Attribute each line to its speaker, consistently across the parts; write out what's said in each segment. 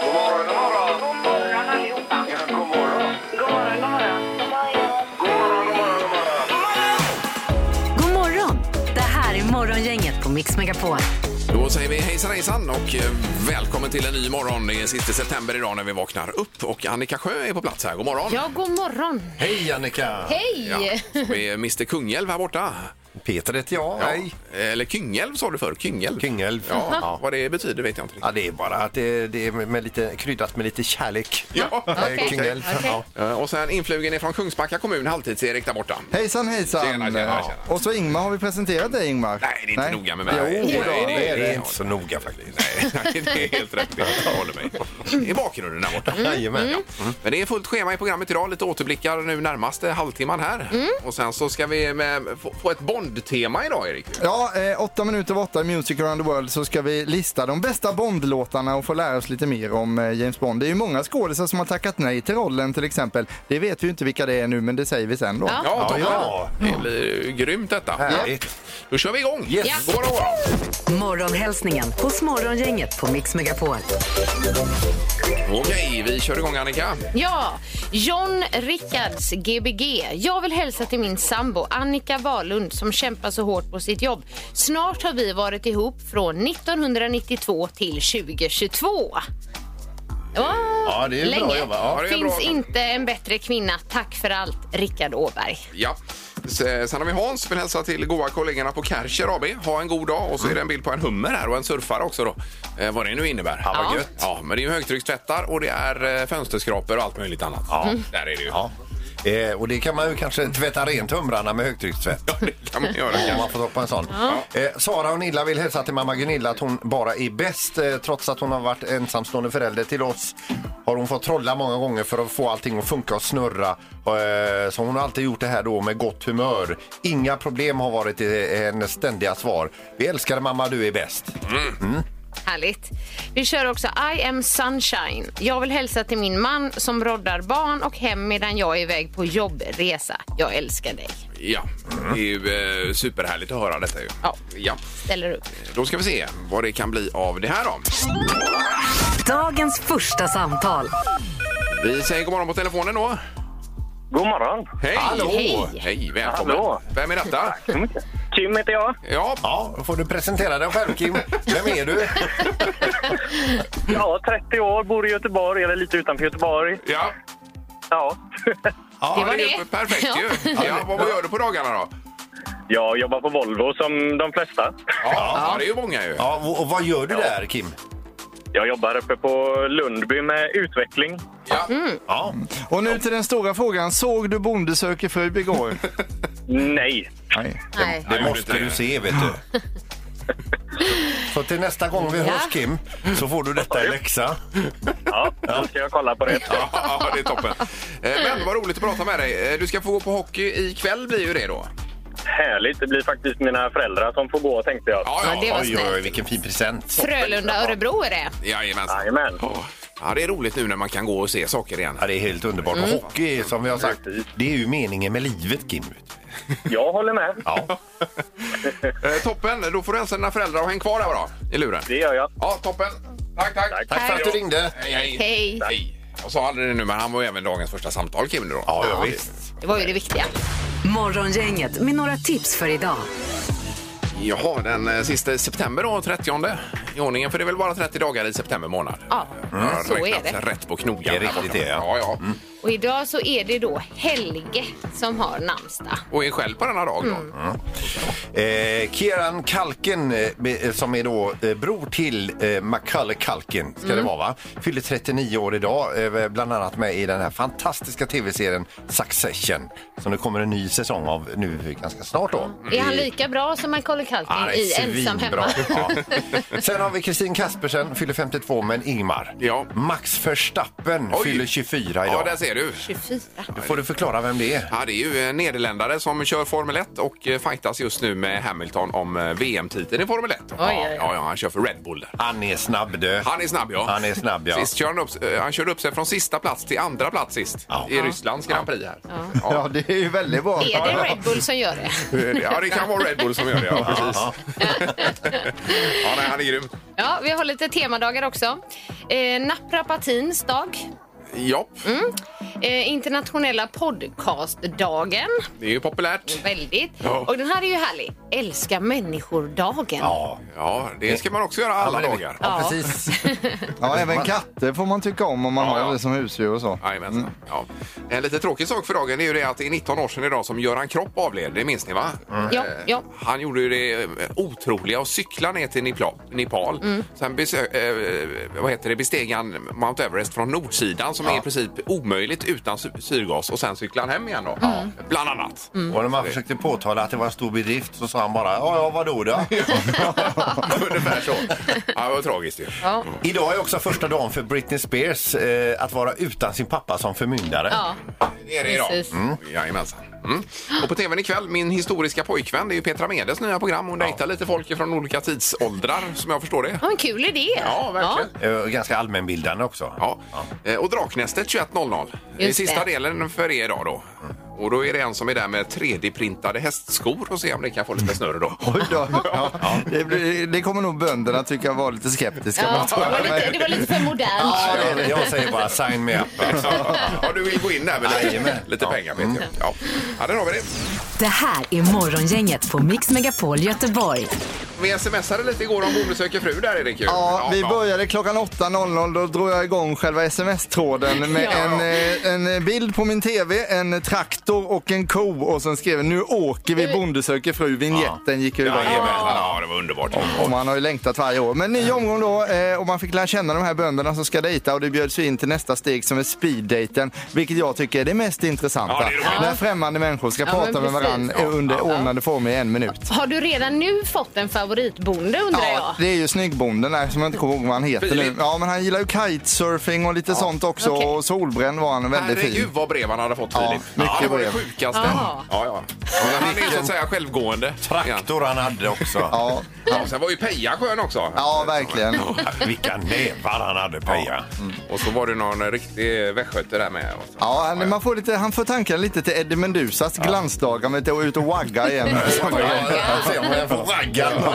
Speaker 1: God morgon, god morgon. God morgon allihopa. Ja, god morgon. God morgon, god morgon. God morgon, god
Speaker 2: God
Speaker 1: morgon, god morgon.
Speaker 2: morgon! Det här är Morgongänget på Mix Megapol.
Speaker 3: Då säger vi hejsan hejsan och eh, välkommen till en ny morgon. Det är sista september idag när vi vaknar upp och Annika Sjö är på plats här. God morgon!
Speaker 4: Ja, god morgon.
Speaker 5: Hej Annika!
Speaker 4: Hej!
Speaker 3: Ja, vi är Mr Kungälv här borta.
Speaker 5: Peter heter jag. Hej!
Speaker 3: Eller Kyngälv sa du förr, Kyngälv.
Speaker 5: Kungälv.
Speaker 3: Ja, vad det betyder vet jag inte. riktigt.
Speaker 5: Ja, det är bara att det, det är med lite, kryddat med lite kärlek.
Speaker 3: Ja.
Speaker 5: Eh,
Speaker 4: Okej,
Speaker 5: Kungälv.
Speaker 4: okej.
Speaker 5: Ja.
Speaker 3: Eh, Och sen influgen är från Kungsbacka kommun, halvtids-Erik där borta.
Speaker 6: Hejsan hejsan!
Speaker 3: Tjena, tjena, tjena.
Speaker 6: Och så Ingmar, har vi presenterat dig Ingmar?
Speaker 3: Nej, det är inte noga med mig.
Speaker 6: Jo,
Speaker 3: Nej,
Speaker 6: då.
Speaker 3: det är
Speaker 5: Det
Speaker 3: det.
Speaker 5: är inte så noga faktiskt.
Speaker 3: Nej, det är helt rätt. Jag håller med. I bakgrunden där
Speaker 5: Mm.
Speaker 3: borta.
Speaker 5: Jajamän.
Speaker 3: Men det är fullt schema i programmet idag. Lite återblickar nu närmaste halvtimman här. Och sen så ska vi med, få, få ett Bond-tema idag, Erik.
Speaker 6: Ja, eh, åtta minuter över åtta i Music around the world så ska vi lista de bästa Bond-låtarna och få lära oss lite mer om eh, James Bond. Det är ju många skådisar som har tackat nej till rollen till exempel. Det vet vi ju inte vilka det är nu men det säger vi sen då.
Speaker 4: Ja.
Speaker 3: Ja, toppen.
Speaker 5: ja.
Speaker 3: Det blir ju grymt detta.
Speaker 5: Härligt.
Speaker 3: Då kör vi igång.
Speaker 5: Yes.
Speaker 4: Ja.
Speaker 3: God morgon, god morgon.
Speaker 2: Morgonhälsningen hos Morgongänget på Mix Megapol.
Speaker 3: Okej, vi kör igång Annika.
Speaker 4: Ja, John Rickards Gbg. Jag vill hälsa till min sambo Annika Wahlund som kämpar så hårt på sitt jobb. Snart har vi varit ihop från 1992 till 2022. Ja,
Speaker 5: Ja, det är bra jobbat. Ja,
Speaker 3: det är
Speaker 4: Finns
Speaker 3: bra.
Speaker 4: inte en bättre kvinna. Tack för allt, Rickard Åberg.
Speaker 3: Ja. S- eh, Sen har vi Hans. Vill hälsa till goa kollegorna på Kärcher AB. Ha en god dag. Och så är det en bild på en hummer här och en surfare också då. Eh, vad det nu innebär. Ja,
Speaker 4: vad Ja. gött.
Speaker 3: Ja, men det är ju högtryckstvättar och det är eh, fönsterskrapor och allt möjligt annat. Där är det ju.
Speaker 5: Ja. Eh, och det kan man ju kanske tvätta rent humrarna med högtryckstvätt.
Speaker 3: Det kan man göra
Speaker 5: Om
Speaker 3: kanske.
Speaker 5: man får toppa en sån. Eh, Sara och Nilla vill hälsa till mamma Gunilla att hon bara är bäst. Eh, trots att hon har varit ensamstående förälder till oss har hon fått trolla många gånger för att få allting att funka och snurra. Eh, så hon har alltid gjort det här då med gott humör. Inga problem har varit eh, hennes ständiga svar. Vi älskar dig, mamma, du är bäst.
Speaker 4: Härligt. Vi kör också I am sunshine. Jag vill hälsa till min man som roddar barn och hem medan jag är iväg på jobbresa. Jag älskar dig.
Speaker 3: Ja, det är ju eh, superhärligt att höra detta ju.
Speaker 4: Ja.
Speaker 3: ja.
Speaker 4: Ställer upp.
Speaker 3: Då ska vi se vad det kan bli av det här då.
Speaker 2: Dagens första samtal.
Speaker 3: Vi säger god morgon på telefonen då.
Speaker 7: God morgon.
Speaker 3: Hej! Hallå!
Speaker 4: Hej.
Speaker 3: Hej, välkommen.
Speaker 7: Hallå.
Speaker 3: Vem är detta?
Speaker 7: Så mycket. Tim heter jag.
Speaker 3: Ja,
Speaker 5: Ja, då får du presentera dig själv, Kim. Vem är du?
Speaker 7: Ja, 30 år, bor i Göteborg, eller lite utanför Göteborg.
Speaker 3: ja.
Speaker 7: Ja.
Speaker 3: ja
Speaker 4: Det var
Speaker 3: är ju
Speaker 4: det.
Speaker 3: Perfekt ju.
Speaker 4: Ja.
Speaker 3: Ja, vad, vad gör du på dagarna då?
Speaker 7: Jag jobbar på Volvo som de flesta.
Speaker 3: Ja, det är ju många ju.
Speaker 5: Ja, och, och vad gör du där, Kim?
Speaker 7: Jag jobbar uppe på Lundby med utveckling.
Speaker 3: Ja.
Speaker 5: Ja.
Speaker 6: Och nu till den stora frågan. Såg du Bonde söker fru igår?
Speaker 7: Nej.
Speaker 6: Nej.
Speaker 4: Nej.
Speaker 5: Det
Speaker 3: Jag
Speaker 5: måste
Speaker 3: gjorde
Speaker 5: du
Speaker 3: det.
Speaker 5: se, vet du. Så till nästa gång vi hörs, Kim, så får du detta i läxa.
Speaker 7: Ja, då ska jag kolla på det.
Speaker 3: ja, det är toppen. Eh, Men vad roligt att prata med dig. Eh, Du ska få gå på hockey ikväll blir ju det då.
Speaker 7: Härligt. Det blir faktiskt mina föräldrar som får gå, tänkte jag.
Speaker 4: Ja, det var
Speaker 5: Oj,
Speaker 4: snällt.
Speaker 5: oj, vilken fin present.
Speaker 4: Frölunda Örebro är det.
Speaker 3: Jajamensan.
Speaker 7: Jajamän.
Speaker 3: Åh. Ja, det är roligt nu när man kan gå och se saker igen.
Speaker 5: Ja, det är helt underbart. Och Hockey, som vi har sagt, det är ju meningen med livet, Kim.
Speaker 7: Jag håller med.
Speaker 5: Ja.
Speaker 3: Eh, Toppen, då får du hälsa dina föräldrar och häng kvar där bra i luren.
Speaker 7: Det gör jag.
Speaker 3: Ja, toppen. Tack, tack. Tack,
Speaker 5: Tack för att du ringde.
Speaker 3: Hej, hej.
Speaker 4: Hej.
Speaker 3: Hej. Jag sa aldrig det nu, men han var ju även dagens första samtal, Kim. Då.
Speaker 5: Ja, ja, visst.
Speaker 4: Det var ju det viktiga.
Speaker 2: Morgongänget med några tips för idag.
Speaker 3: Jaha, den eh, sista september då, 30 i ordningen. För det är väl bara 30 dagar i september månad?
Speaker 4: Ja,
Speaker 3: Jag har
Speaker 4: så
Speaker 3: räknat
Speaker 4: är det.
Speaker 3: Rätt på knogarna.
Speaker 5: Mm. Det är riktigt
Speaker 3: borta.
Speaker 5: det, ja. Mm.
Speaker 3: ja. ja.
Speaker 4: Och idag så är det då Helge som har namnsdag.
Speaker 3: Och är själv på denna dag då.
Speaker 5: Mm. Eh, Kieran Kalken, eh, be- eh, som är då eh, bror till eh, Macaulay Kalken, ska det vara va? Fyller 39 år idag, eh, bland annat med i den här fantastiska tv-serien Succession. Som det kommer en ny säsong av nu ganska snart då.
Speaker 3: Mm.
Speaker 4: Är han lika bra som Macaulay Culkin
Speaker 5: det är
Speaker 4: i Ensam
Speaker 5: svinbra.
Speaker 4: hemma?
Speaker 5: Ja. Sen har vi Kristin Kaspersen, fyller 52, men Ingmar.
Speaker 3: Ja.
Speaker 5: Max Verstappen
Speaker 3: Oj.
Speaker 5: fyller 24 idag.
Speaker 3: Ja, där ser du.
Speaker 4: 24.
Speaker 5: Nu får du förklara vem det är.
Speaker 3: Ja, det är ju en nederländare som kör Formel 1 och eh, fightas just nu med Hamilton om eh, VM-titeln i Formel 1. ja,
Speaker 4: oj, oj.
Speaker 3: ja, ja, han kör för Red Bull där.
Speaker 5: Han är snabb du.
Speaker 3: Han är snabb, ja.
Speaker 5: Han är snabb, ja.
Speaker 3: Sist kör han, upp, eh, han körde upp sig från sista plats till andra plats sist i Rysslands Grand Prix här. Ja.
Speaker 6: Ja, det är ju väldigt bra.
Speaker 4: Är det Red Bull som gör det?
Speaker 3: Ja, det kan vara Red Bull som gör det. Ja, precis. ja, nej, han är grym.
Speaker 4: Ja, vi har lite temadagar också. Eh, Naprapatins dag.
Speaker 3: Ja,
Speaker 4: Eh, internationella podcastdagen.
Speaker 3: det är ju populärt.
Speaker 4: Väldigt.
Speaker 3: Ja.
Speaker 4: Och den här är ju härlig. Älska människor-dagen.
Speaker 5: Ja,
Speaker 3: Ja, det ska man också göra
Speaker 5: men
Speaker 3: alla
Speaker 5: det-
Speaker 3: dagar.
Speaker 5: Ja, precis.
Speaker 6: Ja, även katter får man tycka om om man
Speaker 3: Ja, ja.
Speaker 6: har det som husdjur och så.
Speaker 3: Jajamensan.
Speaker 5: Mm.
Speaker 3: Ja. En lite tråkig sak för dagen är ju det att det är 19 år sedan idag som Göran Kropp avled. Det minns ni va?
Speaker 5: Mm.
Speaker 4: Ja, ja.
Speaker 3: Han gjorde ju det eh, otroliga att cykla ner till Nipla- Nepal. Sen besö- eh, vad heter det? besteg han Mount Everest från nordsidan som är i princip omöjligt utan sy- syrgas och sen cyklade han hem igen då. Bland annat.
Speaker 5: Och när man försökte påtala att det var en stor bedrift så sa han bara ja, ja vadå då?
Speaker 3: Ungefär så. Ja, det var tragiskt ju.
Speaker 4: Ja.
Speaker 5: Idag är också första dagen för Britney Spears eh, att vara utan sin pappa som förmyndare.
Speaker 4: Ja.
Speaker 3: Det är det idag.
Speaker 4: Precis.
Speaker 3: Mm. Jajamensan. Mm. Och på tvn ikväll, Min historiska pojkvän, det är ju Petra Medes nya program. Hon dejtar lite folk från olika tidsåldrar som jag förstår det.
Speaker 4: Ja, en kul idé.
Speaker 3: Ja, verkligen. Ja.
Speaker 5: Eh, ganska allmänbildande också.
Speaker 3: Eh, Och Draknästet 21.00. Det är
Speaker 4: Just
Speaker 3: sista
Speaker 4: det.
Speaker 3: delen för er idag då. Och då är det en som är där med 3D-printade hästskor och se om ni kan få lite snurr då.
Speaker 6: Oj då. Ja, det, blir, det kommer nog bönderna tycka var lite skeptiska.
Speaker 4: Ja.
Speaker 6: Men-
Speaker 4: Det, var lite, det var lite för modernt.
Speaker 5: Jag, jag säger bara sign me up. Alltså.
Speaker 3: Ja, du vill gå in där med
Speaker 5: Jajamän.
Speaker 3: lite, lite
Speaker 5: Ja.
Speaker 3: pengar vet
Speaker 4: Mm.
Speaker 3: jag. Ja. ja, där har vi det.
Speaker 2: Det här är Morgongänget på Mix Megapol Göteborg.
Speaker 3: Vi smsade lite igår om Bonde söker fru där Erik. ju.
Speaker 6: Ja, vi började klockan 8.00. Då drog jag igång själva sms-tråden med
Speaker 4: Ja.
Speaker 6: en, eh, en bild på min tv, en traktor och en ko. Och sen skrev jag nu åker vi Bonde söker fru. Vinjetten gick ju igång.
Speaker 3: Jajamensan, ja, det var underbart.
Speaker 6: Och man har ju längtat varje år. Men ny omgång då eh, och man fick lära känna de här bönderna som ska dejta och det bjöds ju in till nästa steg som är speeddaten. Vilket jag tycker är det mest intressanta.
Speaker 3: Ja, det är roligt.
Speaker 6: När främmande människor ska
Speaker 4: Ja,
Speaker 6: prata
Speaker 4: men
Speaker 6: med
Speaker 4: precis.
Speaker 6: varandra
Speaker 4: Ja.
Speaker 6: under ordnade former i en minut.
Speaker 4: Har du redan nu fått en favoritbonde undrar
Speaker 6: Ja,
Speaker 4: jag?
Speaker 6: det är ju snyggbonden där som jag inte kommer ihåg vad han heter
Speaker 3: Filip.
Speaker 6: nu. Ja, men han gillar ju kitesurfing och lite sånt också.
Speaker 4: Okej.
Speaker 6: Och solbränd var han väldigt
Speaker 3: Herregud
Speaker 6: fin.
Speaker 3: vad brev han hade fått
Speaker 6: Ja,
Speaker 3: Filip.
Speaker 6: mycket
Speaker 3: det var det
Speaker 6: brev.
Speaker 3: sjukaste.
Speaker 4: Ja.
Speaker 3: Ja, ja. Men han är ju så att säga självgående.
Speaker 5: Traktor han hade också.
Speaker 6: Ja,
Speaker 3: Ja, sen var ju Peja skön också.
Speaker 6: ja verkligen. Mm.
Speaker 5: Vilka nävar han hade Peja.
Speaker 3: Och så var det någon riktig västgöte där med. Och så.
Speaker 6: Ja, han, man får lite, han får tanken lite till Eddie Menduzas glansdagar med att gå ut och wagga igen.
Speaker 5: Ja, se om jag får ragga någon.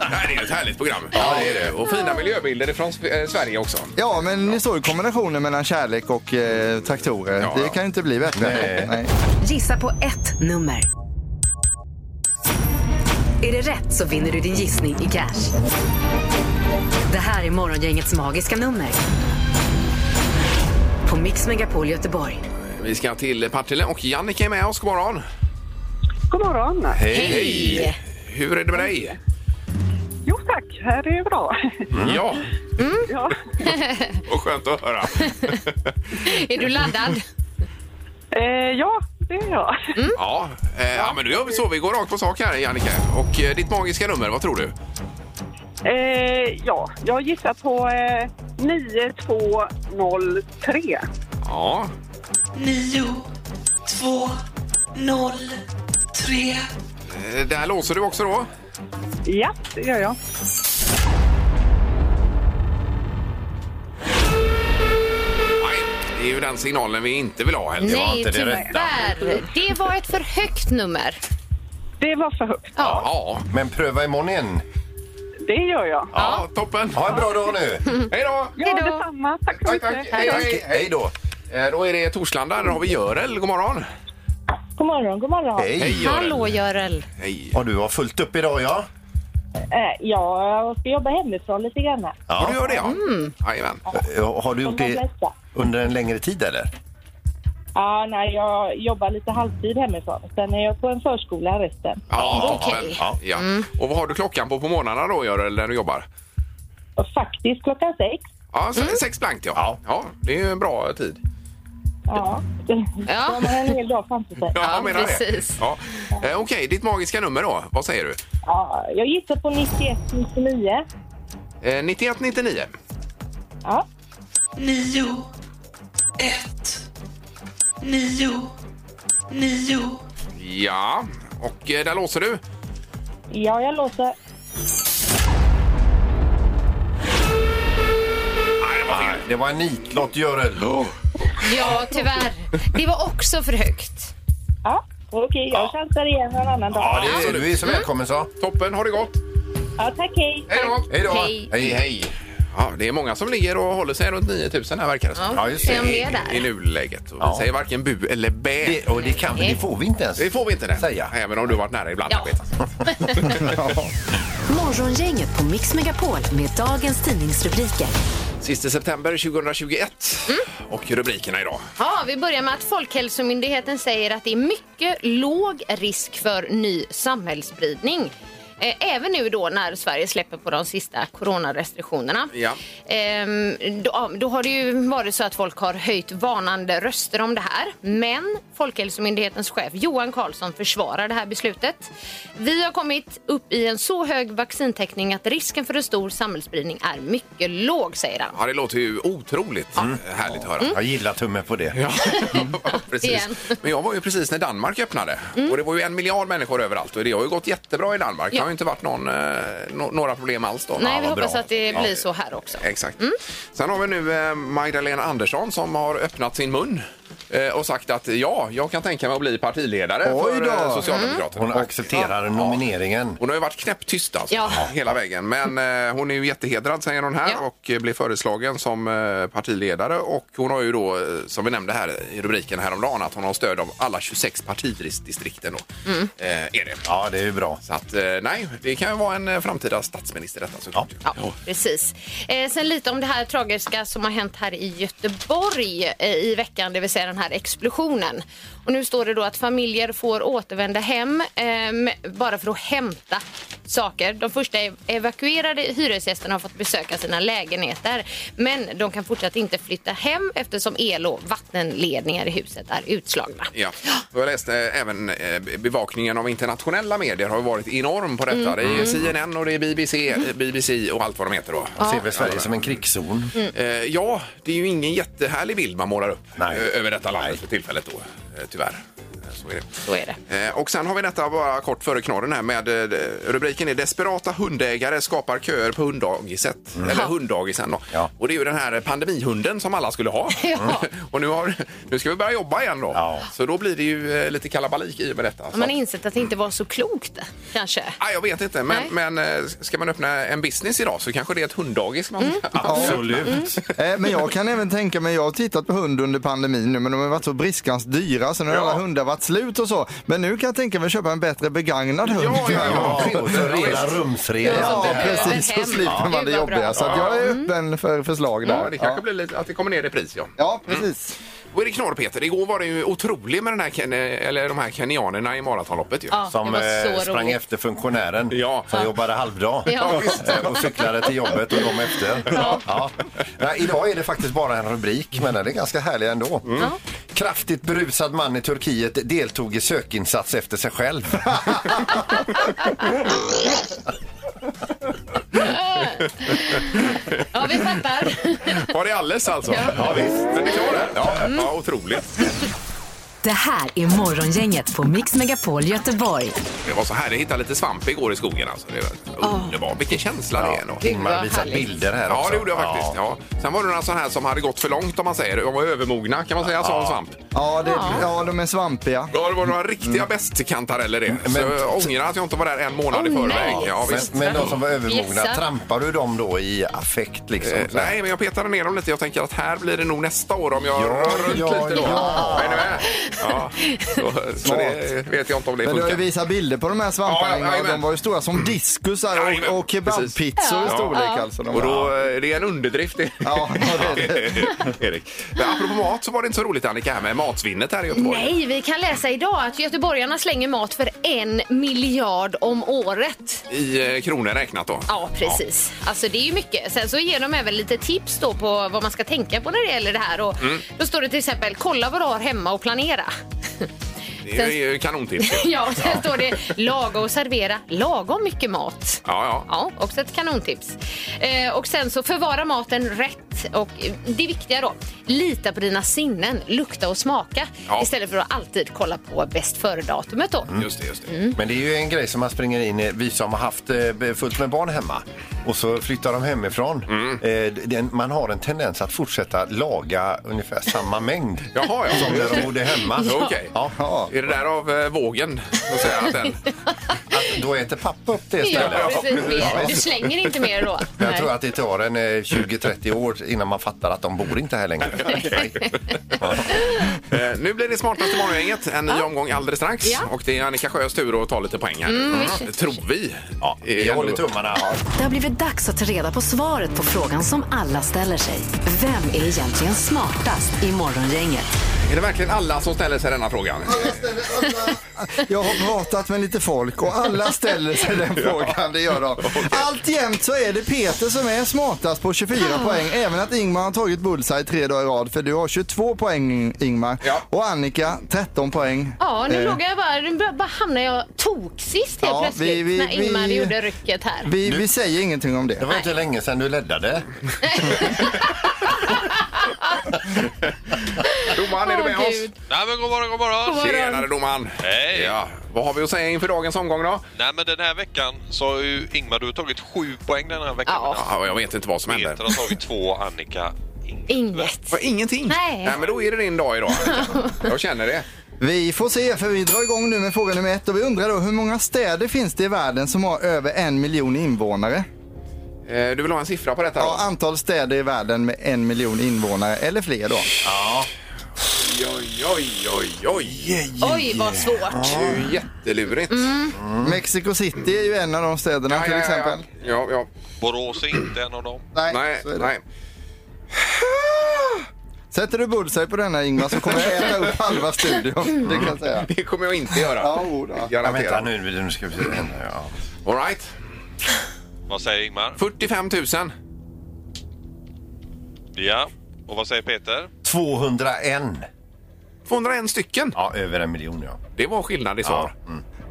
Speaker 3: Det här är ju ett härligt program. Ja, det är det. Och fina miljöbilder från Sp- eh, Sverige också.
Speaker 6: Ja, men ni såg ju kombinationen mellan kärlek och eh, traktorer.
Speaker 3: Ja,
Speaker 6: det
Speaker 3: ja.
Speaker 6: kan ju inte bli bättre.
Speaker 5: Nej.
Speaker 2: Gissa på ett nummer. Är det rätt så vinner du din gissning i cash. Det här är Morgongängets magiska nummer. På Mix Megapol Göteborg.
Speaker 3: Vi ska till Partille och Jannike är med oss. God morgon.
Speaker 8: God morgon.
Speaker 3: Hej! Hur är det med dig?
Speaker 8: Jo tack, här är det bra.
Speaker 3: Ja,
Speaker 8: Ja.
Speaker 3: och skönt att höra.
Speaker 4: Är du laddad?
Speaker 8: Eh, ja, det är jag.
Speaker 3: Ja, eh, ja, men nu gör vi så. Vi går rakt på sak här, Jannike. Och eh, ditt magiska nummer, vad tror du?
Speaker 8: Eh, ja, jag gissar på eh, 9203.
Speaker 3: Ja,
Speaker 9: nio, två, noll, tre.
Speaker 3: eh, där låser du också då.
Speaker 8: Ja, det gör jag.
Speaker 3: Nej, det är ju den signalen vi inte vill ha heller.
Speaker 4: Nej,
Speaker 5: inte det
Speaker 4: tyvärr. Det var ett för högt nummer.
Speaker 8: Det var för högt.
Speaker 4: Ja.
Speaker 3: Ja,
Speaker 5: Men pröva imorgon igen.
Speaker 8: Det gör jag.
Speaker 3: ja, toppen.
Speaker 5: Ha en bra dag nu.
Speaker 3: Hej då!
Speaker 8: Ja,
Speaker 4: Hej då.
Speaker 8: detsamma. Tack så
Speaker 3: Tack, tack.
Speaker 8: mycket.
Speaker 3: Hej, hej.
Speaker 5: Tack, Hej då.
Speaker 3: Eh, Då är det Torslanda. Där har vi Görel. God morgon.
Speaker 8: God morgon, god morgon.
Speaker 5: Hej.
Speaker 4: Hallå, Görel.
Speaker 3: Hej.
Speaker 5: Och du har fullt upp idag ja?
Speaker 8: Eh, ja, jag ska jobba hemifrån lite grann.
Speaker 3: Ja. Du gör det, ja.
Speaker 4: Mm.
Speaker 3: Jajamän.
Speaker 5: Eh, Har du gjort det
Speaker 8: flesta.
Speaker 5: under en längre tid eller?
Speaker 8: Ja, nej, jag jobbar lite halvtid hemifrån. Sen är jag på en förskola resten.
Speaker 3: Ja,
Speaker 4: Okej. Mm.
Speaker 3: toppen. Ja, ja. Och vad har du klockan på på morgnarna då, Görel, när du jobbar?
Speaker 8: Och faktiskt klockan sex.
Speaker 3: Ja,
Speaker 5: Mm.
Speaker 3: se- sex blankt, ja. ja. det är ju en bra tid.
Speaker 8: Ja, då
Speaker 4: Ja,
Speaker 8: har man en hel dag framför sig.
Speaker 3: Ja, jag menar
Speaker 4: precis.
Speaker 3: Det. Ja. Eh, Okej, ditt magiska nummer då. Vad säger du?
Speaker 8: Ja, jag gissar på 91 99.
Speaker 3: Eh, 9199.
Speaker 8: Ja.
Speaker 9: Nio, ett, nio, nio.
Speaker 3: Ja, och eh, där låser du.
Speaker 8: Ja, jag låser.
Speaker 5: Det var en nitlott, Görel.
Speaker 4: Ja, tyvärr. Det var också för högt.
Speaker 8: Ja, okej. Jag chansar igen en annan dag.
Speaker 5: Ja, det är, du är
Speaker 3: Mm.
Speaker 5: så välkommen så.
Speaker 3: Toppen, har det gott.
Speaker 8: Ja, tack. Hej.
Speaker 3: Hej då!
Speaker 5: Hej då.
Speaker 4: Hej.
Speaker 5: hej. hej.
Speaker 3: Ja, det är många som ligger och håller sig runt 9000 här verkar det som.
Speaker 5: Ja, just det.
Speaker 4: Vem är
Speaker 3: I
Speaker 4: där?
Speaker 3: nuläget. Och
Speaker 5: Ja.
Speaker 3: Vi säger varken bu eller bä.
Speaker 5: Det, och det, kan, vi- det får vi inte ens.
Speaker 3: Det får vi inte det.
Speaker 5: Säga.
Speaker 3: Även om du har varit nära ibland.
Speaker 4: Ja.
Speaker 3: jag vet.
Speaker 2: Morgongänget på Mix Megapol med dagens tidningsrubriker.
Speaker 3: Sista september 2021.
Speaker 4: Mm.
Speaker 3: Och rubrikerna idag.
Speaker 4: Ja, vi börjar med att Folkhälsomyndigheten säger att det är mycket låg risk för ny samhällsspridning. Eh, Även nu då när Sverige släpper på de sista coronarestriktionerna.
Speaker 3: Ja.
Speaker 4: Ehm, Då, ja, då har det ju varit så att folk har höjt varnande röster om det här. Men Folkhälsomyndighetens chef Johan Karlsson försvarar det här beslutet. Vi har kommit upp i en så hög vaccintäckning att risken för en stor samhällsspridning är mycket låg, säger han.
Speaker 3: Ja, det låter ju otroligt härligt att höra.
Speaker 4: Mm.
Speaker 5: Jag gillar tummen på det.
Speaker 3: Ja, precis.
Speaker 4: Igen. Mm.
Speaker 3: Men jag var ju precis när Danmark öppnade. Och det var ju en miljard människor överallt. Och det har ju gått jättebra i Danmark. Det
Speaker 4: Ja.
Speaker 3: har ju inte varit någon, eh, no- några problem alls då.
Speaker 4: Nej,
Speaker 3: Ja,
Speaker 4: vi
Speaker 3: vad
Speaker 4: hoppas
Speaker 3: bra.
Speaker 4: att det
Speaker 3: Ja.
Speaker 4: blir så Mm. här också.
Speaker 3: Exakt. Sen har vi nu eh, Magdalena Andersson som har öppnat sin mun eh, och sagt att ja, jag kan tänka mig att bli partiledare
Speaker 6: Oj
Speaker 3: för eh,
Speaker 6: då.
Speaker 3: Socialdemokraterna.
Speaker 5: Mm. Hon
Speaker 3: Och-
Speaker 5: accepterar
Speaker 3: Ja.
Speaker 5: nomineringen.
Speaker 3: Hon har ju varit knäpptyst alltså,
Speaker 4: Ja.
Speaker 3: hela vägen. Men eh, hon är ju jättehedrad säger hon här
Speaker 4: Ja.
Speaker 3: och eh, blev föreslagen som eh, partiledare. Och hon har ju då, eh, som vi nämnde här i rubriken häromdagen, att hon har stöd av alla 26 partidistrikten. Då.
Speaker 4: Mm.
Speaker 3: Eh, är det.
Speaker 5: Ja, det är ju bra.
Speaker 3: Så att eh, nej, det kan ju vara en eh, framtida statsminister detta såklart.
Speaker 4: Ja, precis. Eh, sen lite om det här tragiska som har hänt här i Göteborg eh, i veckan, det vill säga den här explosionen. Och nu står det då att familjer får återvända hem ehm, bara för att hämta saker. De första ev- evakuerade hyresgästerna har fått besöka sina lägenheter men de kan fortsatt inte flytta hem eftersom el och vattenledningar i huset är utslagna.
Speaker 3: Ja. Jag läste eh, även eh, bevakningen av internationella medier har ju varit enorm på
Speaker 4: Mm.
Speaker 3: detta. Det är CNN och det är BBC, eh, BBC och allt vad de heter då.
Speaker 5: Hon ser väl Sverige som en krigszon.
Speaker 3: Eh, Ja, det är ju ingen jättehärlig bild man målar upp
Speaker 5: Nej.
Speaker 3: eh, över detta landet för tillfället då, eh, tyvärr. Eh, Så är det.
Speaker 4: Så är det.
Speaker 3: Eh, Och sen har vi detta bara kort före knorren här med eh, rubriken är Desperata hundägare skapar köer på hunddagiset. Eller hunddagisen då.
Speaker 5: Mm. Ja.
Speaker 3: Och det är ju den här pandemihunden som alla skulle ha. Mm.
Speaker 4: Ja.
Speaker 3: och nu, har, nu ska vi börja jobba igen då.
Speaker 5: Ja.
Speaker 3: Så då blir det ju eh, lite kalabalik i och med detta. Så
Speaker 4: Man
Speaker 3: att-
Speaker 4: har insett att det inte var så klokt kanske.
Speaker 3: Ah, jag vet inte, men, men eh, ska man öppna en business idag så kanske det är ett hunddagis
Speaker 4: Mm.
Speaker 3: man Mm.
Speaker 5: Absolut.
Speaker 6: Eh, Men jag kan även tänka mig, jag har tittat på hund under pandemin nu men de har varit så briskans dyra så nu har
Speaker 3: Ja.
Speaker 6: alla hundar varit slut och så. Men nu kan jag tänka mig att köpa en bättre begagnad hund.
Speaker 3: Ja, ja, ja.
Speaker 5: Och så reda rumsreda.
Speaker 6: Ja,
Speaker 4: Ja,
Speaker 6: precis.
Speaker 4: hem.
Speaker 6: Så slipper
Speaker 4: Ja.
Speaker 6: man det
Speaker 4: Gud, vad bra.
Speaker 6: jobbiga. Så att jag är öppen för förslag där.
Speaker 3: Ja, det kanske blir lite, att det kommer ner i pris. Ja.
Speaker 6: Ja, precis.
Speaker 3: Och är det knorr, Peter? Igår var det ju otroligt med den här, ken- eh, eller de här kenyanerna i maratonloppet. Ju.
Speaker 4: Ja,
Speaker 5: Som
Speaker 4: det var så
Speaker 5: eh, sprang
Speaker 4: roligt.
Speaker 5: efter funktionären
Speaker 3: Ja.
Speaker 5: som jobbade halvdag
Speaker 4: Ja.
Speaker 5: Eh, och cyklade till jobbet och de efter. Ja. Nej, idag är det faktiskt bara en rubrik, men den är ganska härlig ändå.
Speaker 3: Mm.
Speaker 5: Kraftigt berusad man i Turkiet deltog i sökinsats efter sig själv.
Speaker 4: Ja, vi fattar.
Speaker 3: Var det alldeles alltså? Ja, visst. Men det knorr det? Ja,
Speaker 4: Mm.
Speaker 3: ja, otroligt.
Speaker 2: Det här är Morgongänget på Mix Megapol Göteborg.
Speaker 3: Det var så här, jag hittade lite svamp igår i skogen. Alltså. Det var underbart. Vilken känsla det är ändå.
Speaker 5: Ingmar har
Speaker 4: vad
Speaker 5: visat
Speaker 4: härligt.
Speaker 5: bilder här
Speaker 3: Ja,
Speaker 5: också.
Speaker 3: det gjorde jag faktiskt. Ja. Sen var det några sådana här som hade gått för långt om man säger. De var övermogna kan man säga, sa en svamp.
Speaker 6: Ja, det, ja, de är svampiga.
Speaker 3: Ja, det var några riktiga bästkantareller det. Så
Speaker 5: Men-
Speaker 3: jag ångrar att jag inte var där en månad i
Speaker 4: Åh,
Speaker 3: förväg.
Speaker 4: nej.
Speaker 3: Ja, visst.
Speaker 5: Men, men de som var övermogna,
Speaker 4: Bjässar.
Speaker 5: trampar du dem då i affekt liksom?
Speaker 3: Eh, Nej, men jag petade ner dem lite. Jag tänker att här blir det nog nästa år om jag
Speaker 5: Ja,
Speaker 3: rör runt
Speaker 5: ja,
Speaker 3: lite då.
Speaker 5: ja.
Speaker 3: Är ni med? Ja. Så, så det vet jag inte om det
Speaker 6: Men du har ju
Speaker 3: funkar.
Speaker 6: visat bilder på de här
Speaker 3: Ja,
Speaker 6: svamparna
Speaker 3: ja,
Speaker 6: Ingmar, och
Speaker 3: jajamän.
Speaker 6: De var ju stora som diskusar
Speaker 3: Jajamän,
Speaker 6: och, och kebabpizzor i
Speaker 3: precis.
Speaker 6: storlek
Speaker 3: Ja.
Speaker 6: alltså. De
Speaker 3: Och
Speaker 6: var-
Speaker 3: då, eh, det är en underdrift det.
Speaker 6: Ja, ja, det är
Speaker 3: Erik. Men apropå mat så var det inte så roligt Annika här med matsvinnet här i Göteborg.
Speaker 4: Nej, vi kan läsa idag att göteborgarna slänger mat för en miljard om året.
Speaker 3: I eh, kronor räknat då.
Speaker 4: Ja, precis. Alltså det är ju mycket. Sen så ger de även lite tips då på vad man ska tänka på när det gäller det här. Och
Speaker 3: Mm.
Speaker 4: Då står det till exempel, kolla vad du har hemma och planera.
Speaker 3: Det är ju kanontips.
Speaker 4: ja, och sen står det, laga och servera lagom mycket mat.
Speaker 3: Ja, ja.
Speaker 4: Ja, också ett kanontips. Eh, och sen så förvara maten rätt. Och eh, det viktiga då, lita på dina sinnen, lukta och smaka
Speaker 3: Ja. Mm.
Speaker 4: istället för att alltid kolla på bäst före-datumet. Då.
Speaker 3: Just det, just det.
Speaker 4: Mm.
Speaker 5: Men det är ju en grej som man springer in i, vi som har haft eh, fullt med barn hemma och så flyttar de hemifrån. Eh, den, man har en tendens att fortsätta laga ungefär samma mängd
Speaker 3: Jaha, ja.
Speaker 5: som när de bodde hemma.
Speaker 3: Ja, okej.
Speaker 5: Ja.
Speaker 6: Ja.
Speaker 3: Är det där av eh, vågen? Så att säga, att den,
Speaker 5: Att då äter pappa upp det
Speaker 4: Ja,
Speaker 5: istället.
Speaker 4: precis. Du slänger inte mer då?
Speaker 5: Jag tror att det tar en eh, 20-30 år innan man fattar att de bor inte här längre.
Speaker 3: eh, nu blir det smartaste morgongänget. En ny omgång alldeles strax.
Speaker 4: Ja.
Speaker 3: Och det är Annika Sjös tur att ta lite poäng här. Mm. Tror vi. Eh, Ja,
Speaker 5: Jag håller tummarna.
Speaker 2: Det har blivit dags att ta reda på svaret på frågan som alla ställer sig. Vem är egentligen smartast i Morgongänget?
Speaker 3: Är det verkligen alla som ställer sig denna frågan?
Speaker 6: Jag har pratat med lite folk och alla ställer sig den frågan, det gör de. Alltjämt så är det Peter som är smartast på 24
Speaker 4: Ah.
Speaker 6: poäng, även att Ingmar har tagit bullseye tre dagar i rad, för du har 22 poäng Ingmar.
Speaker 3: Ja.
Speaker 6: Och Annika 13 poäng.
Speaker 4: Ja, nu
Speaker 6: Eh,
Speaker 4: låg jag bara, nu bara hamnar jag toksist helt
Speaker 6: Ja,
Speaker 4: plötsligt
Speaker 6: vi- vi-
Speaker 4: när Ingmar
Speaker 6: vi-
Speaker 4: gjorde rycket här.
Speaker 6: vi, vi säger ingenting om
Speaker 5: Det
Speaker 6: det.
Speaker 5: var inte länge sedan du leddade.
Speaker 3: Domaren, är du med
Speaker 4: Åh,
Speaker 3: oss?
Speaker 4: Gud.
Speaker 10: Nej men god morgon, god morgon.
Speaker 4: morgon.
Speaker 3: Tjenare domaren!
Speaker 10: Hej.
Speaker 3: Ja. Vad har vi att säga inför dagens omgång då?
Speaker 10: Nej men den här veckan så har ju Ingmar, du har tagit sju poäng den här veckan.
Speaker 4: Ja.
Speaker 3: Ja, jag vet inte vad som händer.
Speaker 10: Peter har tagit två, Annika inget.
Speaker 4: Inget.
Speaker 3: Va, Ingenting?
Speaker 4: Nej.
Speaker 3: men då är det din dag idag. Annika. Jag känner det.
Speaker 6: Vi får se, för vi drar igång nu med fråga nummer ett och vi undrar då hur många städer finns det i världen som har över en miljon invånare?
Speaker 3: Eh, Du vill ha en siffra på detta?
Speaker 6: Ja,
Speaker 3: Då?
Speaker 6: antal städer i världen med en miljon invånare eller fler då.
Speaker 3: Oj, oj, oj, oj.
Speaker 4: Oj, vad svårt.
Speaker 3: Det är ju jättelurigt.
Speaker 4: Mm.
Speaker 6: Mexico City är ju en av de städerna
Speaker 3: Ja,
Speaker 6: till
Speaker 3: ja, ja,
Speaker 6: exempel.
Speaker 3: Ja, ja.
Speaker 10: Borås är inte en av dem.
Speaker 3: Nej,
Speaker 6: så är det.
Speaker 3: nej.
Speaker 6: Sätter du bullseye på denna Ingmar så kommer jag äta upp halva studion.
Speaker 3: Mm.
Speaker 6: Det kan jag säga.
Speaker 3: Det kommer jag inte göra.
Speaker 6: Ja, jo då.
Speaker 5: Ja, vänta
Speaker 3: Garanterat.
Speaker 5: nu, nu ska vi se. Ja.
Speaker 3: All right.
Speaker 10: Vad säger Ingmar?
Speaker 3: 45 000.
Speaker 10: Ja. Och vad säger Peter?
Speaker 5: 201.
Speaker 3: 201 stycken.
Speaker 5: Ja, över en miljon ja.
Speaker 3: Det var skillnad i svar.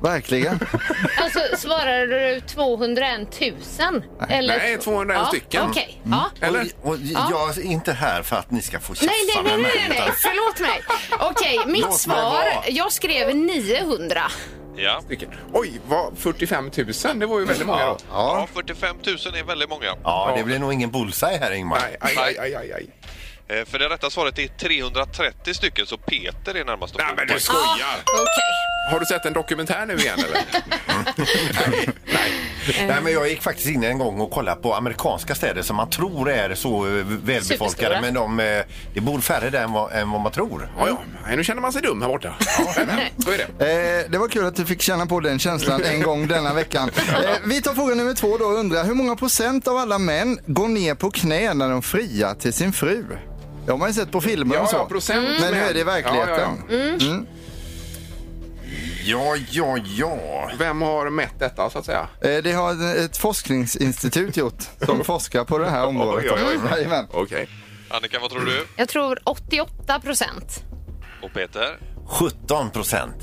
Speaker 6: Verkligen.
Speaker 4: Alltså, svarade du 201 000? Eller?
Speaker 3: Nej, 201
Speaker 4: ja,
Speaker 3: stycken.
Speaker 4: Okej. Ja.
Speaker 3: Eller?
Speaker 5: Och, och jag är inte här för att ni ska få tjafsa
Speaker 4: Nej, nej, nej,
Speaker 5: med
Speaker 4: nej,
Speaker 5: mig.
Speaker 4: nej, nej.
Speaker 5: utan-
Speaker 4: förlåt mig. Okej, mitt
Speaker 5: Låt mig
Speaker 4: svar.
Speaker 5: vara.
Speaker 4: Jag skrev 900.
Speaker 10: Ja.
Speaker 3: Stycken. Oj, vad, 45 000? Det var ju väldigt många då.
Speaker 10: Ja, 45 000 är väldigt många.
Speaker 5: Ja, det blir nog ingen bullseye här Ingmar.
Speaker 3: Nej, aj, aj, aj, aj, aj.
Speaker 10: Eh, För det rätta svaret är 330 stycken, så Peter är närmast att
Speaker 3: Nej,
Speaker 10: få
Speaker 3: men du
Speaker 10: poäng.
Speaker 3: skojar!
Speaker 4: Okej.
Speaker 3: Ah! Har du sett en dokumentär nu igen eller? Mm.
Speaker 5: Nej, men jag gick faktiskt in en gång och kollade på amerikanska städer som man tror är så eh,
Speaker 4: Superstora.
Speaker 5: välbefolkade. Men de, eh, det bor färre där än vad, än vad man tror.
Speaker 3: Ja, ja. Nej, nu känner man sig dum här borta. Ja, men, men, så är det.
Speaker 6: Eh, det var kul att du fick känna på den känslan en gång denna veckan. Eh, vi tar fråga nummer två då och undrar hur många procent av alla män går ner på knä när de friar till sin fru? Det har man ju sett på filmer
Speaker 3: Ja,
Speaker 6: och så.
Speaker 3: ja, procent,
Speaker 6: Men hur är det i
Speaker 3: men-
Speaker 6: verkligheten?
Speaker 3: Ja, Mm. ja,
Speaker 5: Ja, ja, ja.
Speaker 3: Vem har mätt detta så att säga?
Speaker 6: Eh, Det har ett forskningsinstitut gjort som forskar på det här området.
Speaker 3: Oj, oj, oj.
Speaker 6: Jajamän.
Speaker 3: Okej.
Speaker 10: Annika, vad tror du?
Speaker 4: Jag tror 88 procent.
Speaker 10: Och Peter?
Speaker 5: 17 procent.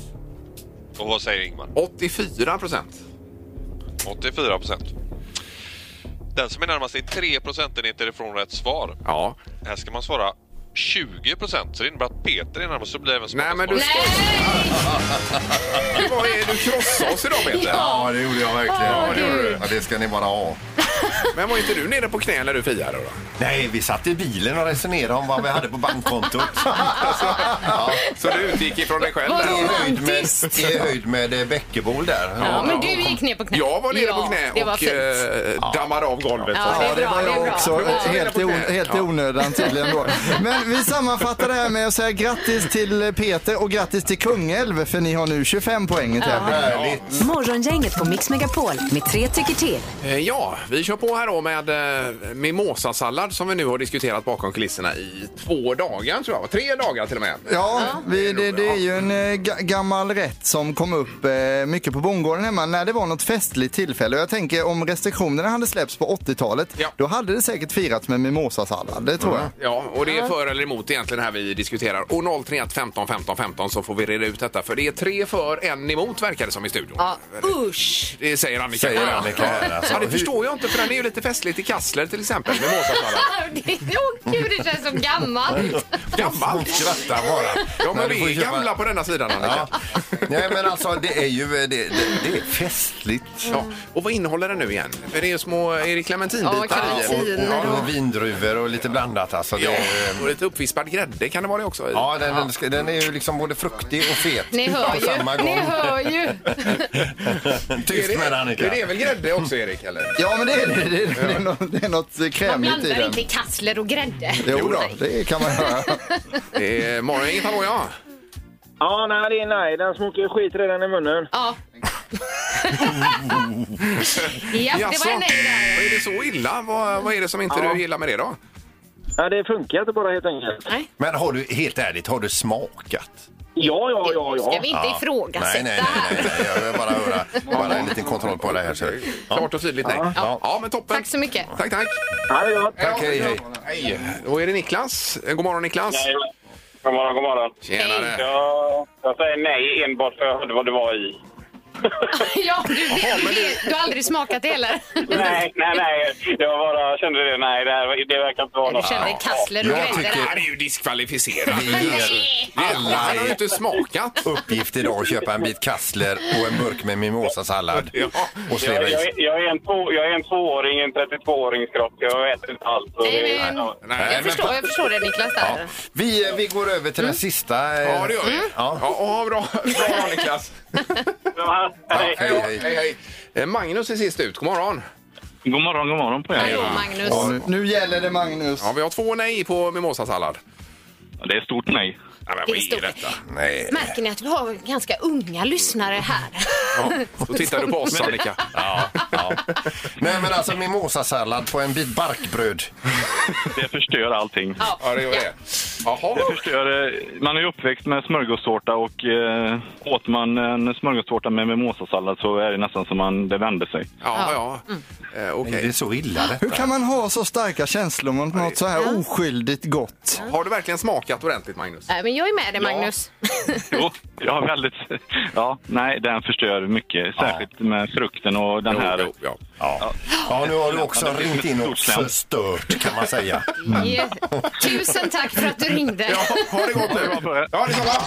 Speaker 10: Och vad säger Ingmar?
Speaker 3: 84 procent.
Speaker 10: 84 procent. Den som är närmast är 3 procentenheter ifrån rätt svar.
Speaker 3: Ja.
Speaker 10: Här ska man svara 20 procent, så det innebär att Peter är närmast. Så blir det även
Speaker 3: Nej, men du
Speaker 10: smartast.
Speaker 4: Nej!
Speaker 3: Vad är du krossade oss idag Peter?
Speaker 5: Ja, det gjorde jag verkligen.
Speaker 4: Åh, Ja, det gjorde du.
Speaker 5: Ja, det ska ni bara ha.
Speaker 3: Men var inte du nere på knä när du friade då?
Speaker 5: Nej, vi satt i bilen och resonerade om vad vi hade på bankkontot.
Speaker 3: Så du utgick ifrån dig själv?
Speaker 4: Vad
Speaker 3: där?
Speaker 4: roligt.
Speaker 5: höjd med,
Speaker 4: Romantiskt.
Speaker 5: I höjd med eh, Bäckebol där.
Speaker 4: Ja, men du gick ner på knä.
Speaker 3: Jag var nere
Speaker 4: ja,
Speaker 3: på knä
Speaker 4: det var
Speaker 3: och
Speaker 4: fint.
Speaker 3: eh, dammade av golvet.
Speaker 4: Ja,
Speaker 3: så
Speaker 6: Ja,
Speaker 3: att säga.
Speaker 4: det
Speaker 6: det
Speaker 4: bra,
Speaker 6: var
Speaker 4: det är
Speaker 6: jag
Speaker 4: bra.
Speaker 6: också.
Speaker 4: Bra.
Speaker 6: Helt i, on, helt i
Speaker 3: Ja.
Speaker 6: onödan tydligen då. Men vi sammanfattar det här med att säga grattis till Peter och grattis till Kungälv för ni har nu 25 poäng i tävlingen.
Speaker 5: Härligt.
Speaker 2: Morgongänget på Mix Megapol med tre tycker till.
Speaker 3: Eh, Ja, vi kör på här då med eh, mimosasallad som vi nu har diskuterat bakom kulisserna i två dagar tror jag. Tre dagar till och med.
Speaker 6: Ja, vi, det, det är ju en eh, ga- gammal rätt som kom upp eh, mycket på bondgården hemma när det var något festligt tillfälle. Och jag tänker om restriktionerna hade släppts på 80-talet,
Speaker 3: Ja.
Speaker 6: då hade det säkert firats med mimosasallad. Det tror jag.
Speaker 3: Ja, och det är för eller emot egentligen här vi diskuterar. Och 031 15 15 15 så får vi reda ut detta. För det är tre för, en emot verkar det som i studion.
Speaker 4: Ja, usch!
Speaker 3: Det säger Annika.
Speaker 5: Säger Annika här, alltså.
Speaker 3: Ja, det
Speaker 5: Hur-
Speaker 3: förstår jag inte för den är ju lite festligt i Kassler till exempel med Mozartballad.
Speaker 4: det är oh, gud, det känns som gammalt.
Speaker 3: Gammalt!
Speaker 5: Skrattar bara.
Speaker 3: Ja,
Speaker 5: Nej,
Speaker 3: men
Speaker 5: du
Speaker 3: vi
Speaker 5: får
Speaker 3: är
Speaker 5: köpa-
Speaker 3: gamla på denna sidan, Annika.
Speaker 5: Ja. Nej, men alltså det är ju det, det, det är festligt.
Speaker 3: Ja. Och vad innehåller den nu igen? För det är ju små, är det
Speaker 4: Ja,
Speaker 3: clementinbitar i?
Speaker 4: clementin. Viner
Speaker 5: och,
Speaker 4: och-
Speaker 5: och vindruvor och lite blandat alltså. Det,
Speaker 3: Ja,
Speaker 5: är-
Speaker 3: och lite uppvispad grädde kan det vara det också i.
Speaker 5: ja, den, den, ska- den är ju liksom både fruktig och fet
Speaker 4: Ni hör
Speaker 5: på samma
Speaker 4: ju.
Speaker 5: gång.
Speaker 4: Ni hör ju.
Speaker 3: Är
Speaker 5: Tyst
Speaker 3: det,
Speaker 5: med dig,
Speaker 3: är
Speaker 5: Annika.
Speaker 3: det väl grädde också, Erik? Eller?
Speaker 6: Ja, men det är, det, det, det är, något, det är något
Speaker 4: Man
Speaker 6: krämigt i
Speaker 4: blandar
Speaker 6: den.
Speaker 4: inte kassler och grädde.
Speaker 6: Jo då, det kan man göra.
Speaker 3: Det är morgongänget, hallå ja.
Speaker 7: Ja, nej, det är nej. Den smakar skit redan i munnen.
Speaker 4: Ja. ja, det var en nej där.
Speaker 3: är det så illa? Vad, vad är det som inte
Speaker 7: Ja.
Speaker 3: du gillar med det då?
Speaker 7: Ja, det funkar inte bara helt enkelt.
Speaker 5: Men har du, helt ärligt, har du smakat?
Speaker 7: Ja, ja, ja,
Speaker 4: ska
Speaker 7: ja.
Speaker 4: vi inte ifrågasätta
Speaker 5: Nej, nej, nej, nej, nej. jag vill bara höra. Bara en liten kontroll på det här. Så.
Speaker 3: Klart och tydligt nej. Ja. ja, men toppen.
Speaker 4: Tack så mycket.
Speaker 3: Tack, tack.
Speaker 7: Ja, det är gott.
Speaker 5: Tack, hej, hej.
Speaker 3: Hej. Då är det Niklas. Eh, God morgon Niklas.
Speaker 7: God morgon, god morgon.
Speaker 3: Tjenare.
Speaker 7: Jag, jag säger nej enbart för jag hörde vad det var i.
Speaker 4: Ja, du, vet, du, vet, du har aldrig smakat det heller.
Speaker 7: nej, nej, nej. Jag bara kände det. Nej, det, här, det verkar inte vara
Speaker 4: Du
Speaker 7: något.
Speaker 4: kände kassler
Speaker 5: Jag
Speaker 4: och grädde
Speaker 5: tycker-
Speaker 3: Det
Speaker 4: där.
Speaker 3: här är ju diskvalificerat.
Speaker 5: Vi ger
Speaker 3: Alla
Speaker 5: alla
Speaker 3: har ju
Speaker 5: i
Speaker 3: inte smakat.
Speaker 5: uppgift idag att köpa en bit kassler och en burk med mimosasallad.
Speaker 3: Ja.
Speaker 5: Och
Speaker 7: Jag,
Speaker 5: sleva
Speaker 7: jag,
Speaker 5: i.
Speaker 7: jag, är en två, jag är en tvååring, en 32-årings kropp. Jag vet inte allt. så
Speaker 4: Nej,
Speaker 7: det-
Speaker 4: men-
Speaker 7: ja.
Speaker 3: Nej,
Speaker 4: Jag
Speaker 3: men-
Speaker 4: förstår, jag förstår det Niklas
Speaker 5: Ja.
Speaker 4: där.
Speaker 5: Vi, eh, vi går över till den sista. eh,
Speaker 3: Ja, det gör vi. Ja,
Speaker 5: Ja.
Speaker 3: ja bra. bra Niklas.
Speaker 7: Ja, hej.
Speaker 5: Hej,
Speaker 3: Ja,
Speaker 5: hej.
Speaker 3: hej, hej. Eh, Magnus är sist ut. God morgon.
Speaker 7: God morgon, god morgon på
Speaker 4: Hallå
Speaker 7: er.
Speaker 4: Magnus.
Speaker 6: Ja, nu, nu gäller det Magnus.
Speaker 3: Ja, vi har två nej på mimosasallad.
Speaker 7: Det är stort nej.
Speaker 3: Ja, men
Speaker 4: Det är
Speaker 3: vad är
Speaker 4: stort.
Speaker 3: detta?
Speaker 5: Nej.
Speaker 4: Märker ni att vi har ganska unga lyssnare här?
Speaker 3: Ja, då tittar du på oss Annika.
Speaker 5: Ja, ja. Nej, men alltså mimosasallad på en bit barkbröd.
Speaker 7: Det förstör allting.
Speaker 3: Ja, det gör det. Jaha.
Speaker 7: Det förstör, eh, man är ju uppväxt med smörgåstårta och eh, åt man en smörgåstårta med mimosasallad så är det nästan som man, det vände sig.
Speaker 3: Ja, ja. Eh, Okej.
Speaker 5: Det är så illa
Speaker 6: Hur
Speaker 5: detta.
Speaker 6: kan man ha så starka känslor mot något så här oskyldigt gott?
Speaker 3: Har du verkligen smakat ordentligt, Magnus?
Speaker 4: Nej, men jag är med dig Magnus.
Speaker 7: Jo, ja, väldigt. Ja, nej, den förstör mycket. Särskilt med frukten och den här.
Speaker 3: Jo, jo, ja.
Speaker 5: Ja. ja, nu har du också ringt in och förstört kan man säga.
Speaker 4: Ja. Tusen tack för att du ringde.
Speaker 3: ja. Ha det gott nu.
Speaker 7: på er.
Speaker 3: Ja, detsamma.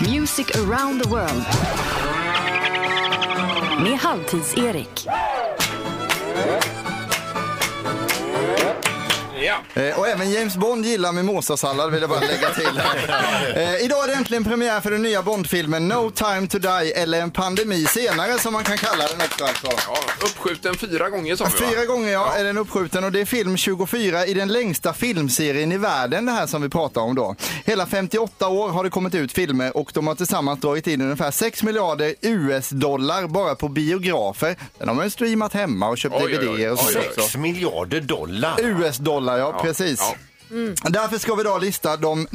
Speaker 2: Music around the world. Med Halvtids-Erik.
Speaker 3: Ja.
Speaker 6: Eh, och även James Bond gillar mimosasallad vill jag bara lägga till. här. eh, idag är det äntligen premiär för den nya Bond-filmen No time to die eller En pandemi senare som man kan kalla den också. Alltså.
Speaker 3: Ja, uppskjuten fyra gånger sa vi, va?
Speaker 6: Fyra gånger ja, är den uppskjuten och det är film 24 i den längsta filmserien i världen det här som vi pratar om då. Hela 58 år har det kommit ut filmer och de har tillsammans dragit in ungefär 6 miljarder US-dollar bara på biografer. Sen har man ju streamat hemma och köpt
Speaker 3: Oj, oj, oj.
Speaker 6: DVD-er och så
Speaker 3: Oj, oj, oj.
Speaker 6: också.
Speaker 5: Sex miljarder dollar.
Speaker 6: US-dollar, ja, precis. Mm.
Speaker 3: ja.
Speaker 6: Därför ska vi idag lista de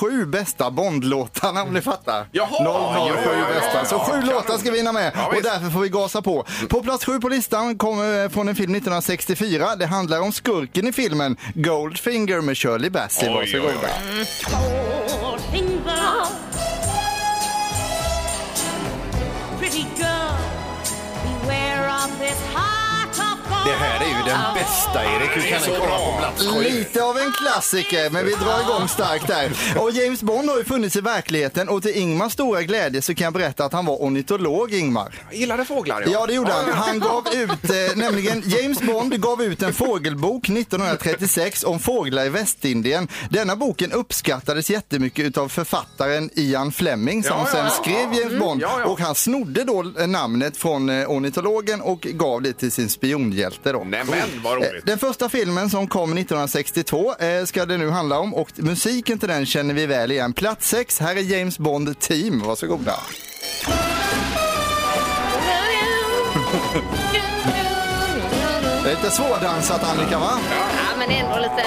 Speaker 6: 007 bästa Bondlåtarna om ni fattar.
Speaker 3: Jaha!
Speaker 6: 007 bästa. Så sju låtar ska vi hinna med
Speaker 3: Ja,
Speaker 6: och
Speaker 3: visst. Mm.
Speaker 6: därför får vi gasa på. På plats sju på listan kommer eh, från en film 1964. Det handlar om skurken i filmen Goldfinger med Shirley Bassey.
Speaker 3: Oj,
Speaker 6: Varsågoda.
Speaker 3: oj, oj.
Speaker 5: Det här är ju den bästa Erik. Hur kan den komma på plats sju?
Speaker 6: Lite av en klassiker, men vi drar igång starkt där. Och James Bond har ju funnits i verkligheten och till Ingmars stora glädje så kan jag berätta att han var ornitolog, Ingmar.
Speaker 3: Jag Gillade fåglar,
Speaker 6: Ja, det gjorde han. Han gav ut, eh, nämligen James Bond gav ut en fågelbok 1936 om fåglar i Västindien. Denna boken uppskattades jättemycket utav författaren Ian Fleming som
Speaker 3: Ja, ja,
Speaker 6: sen
Speaker 3: ja. Mm.
Speaker 6: skrev James Bond
Speaker 3: ja, ja.
Speaker 6: och han snodde då eh, namnet från eh, ornitologen och gav det till sin spionhjälte då.
Speaker 3: Nämen, vad
Speaker 6: Eh,
Speaker 3: roligt.
Speaker 6: Den första filmen som kom 1962 eh, ska det nu handla om och musiken till den känner vi väl igen. Plats 6, här är James Bond Team. Varsågoda. Det är lite svårdansat Annika va?
Speaker 4: Ja, men ändå lite...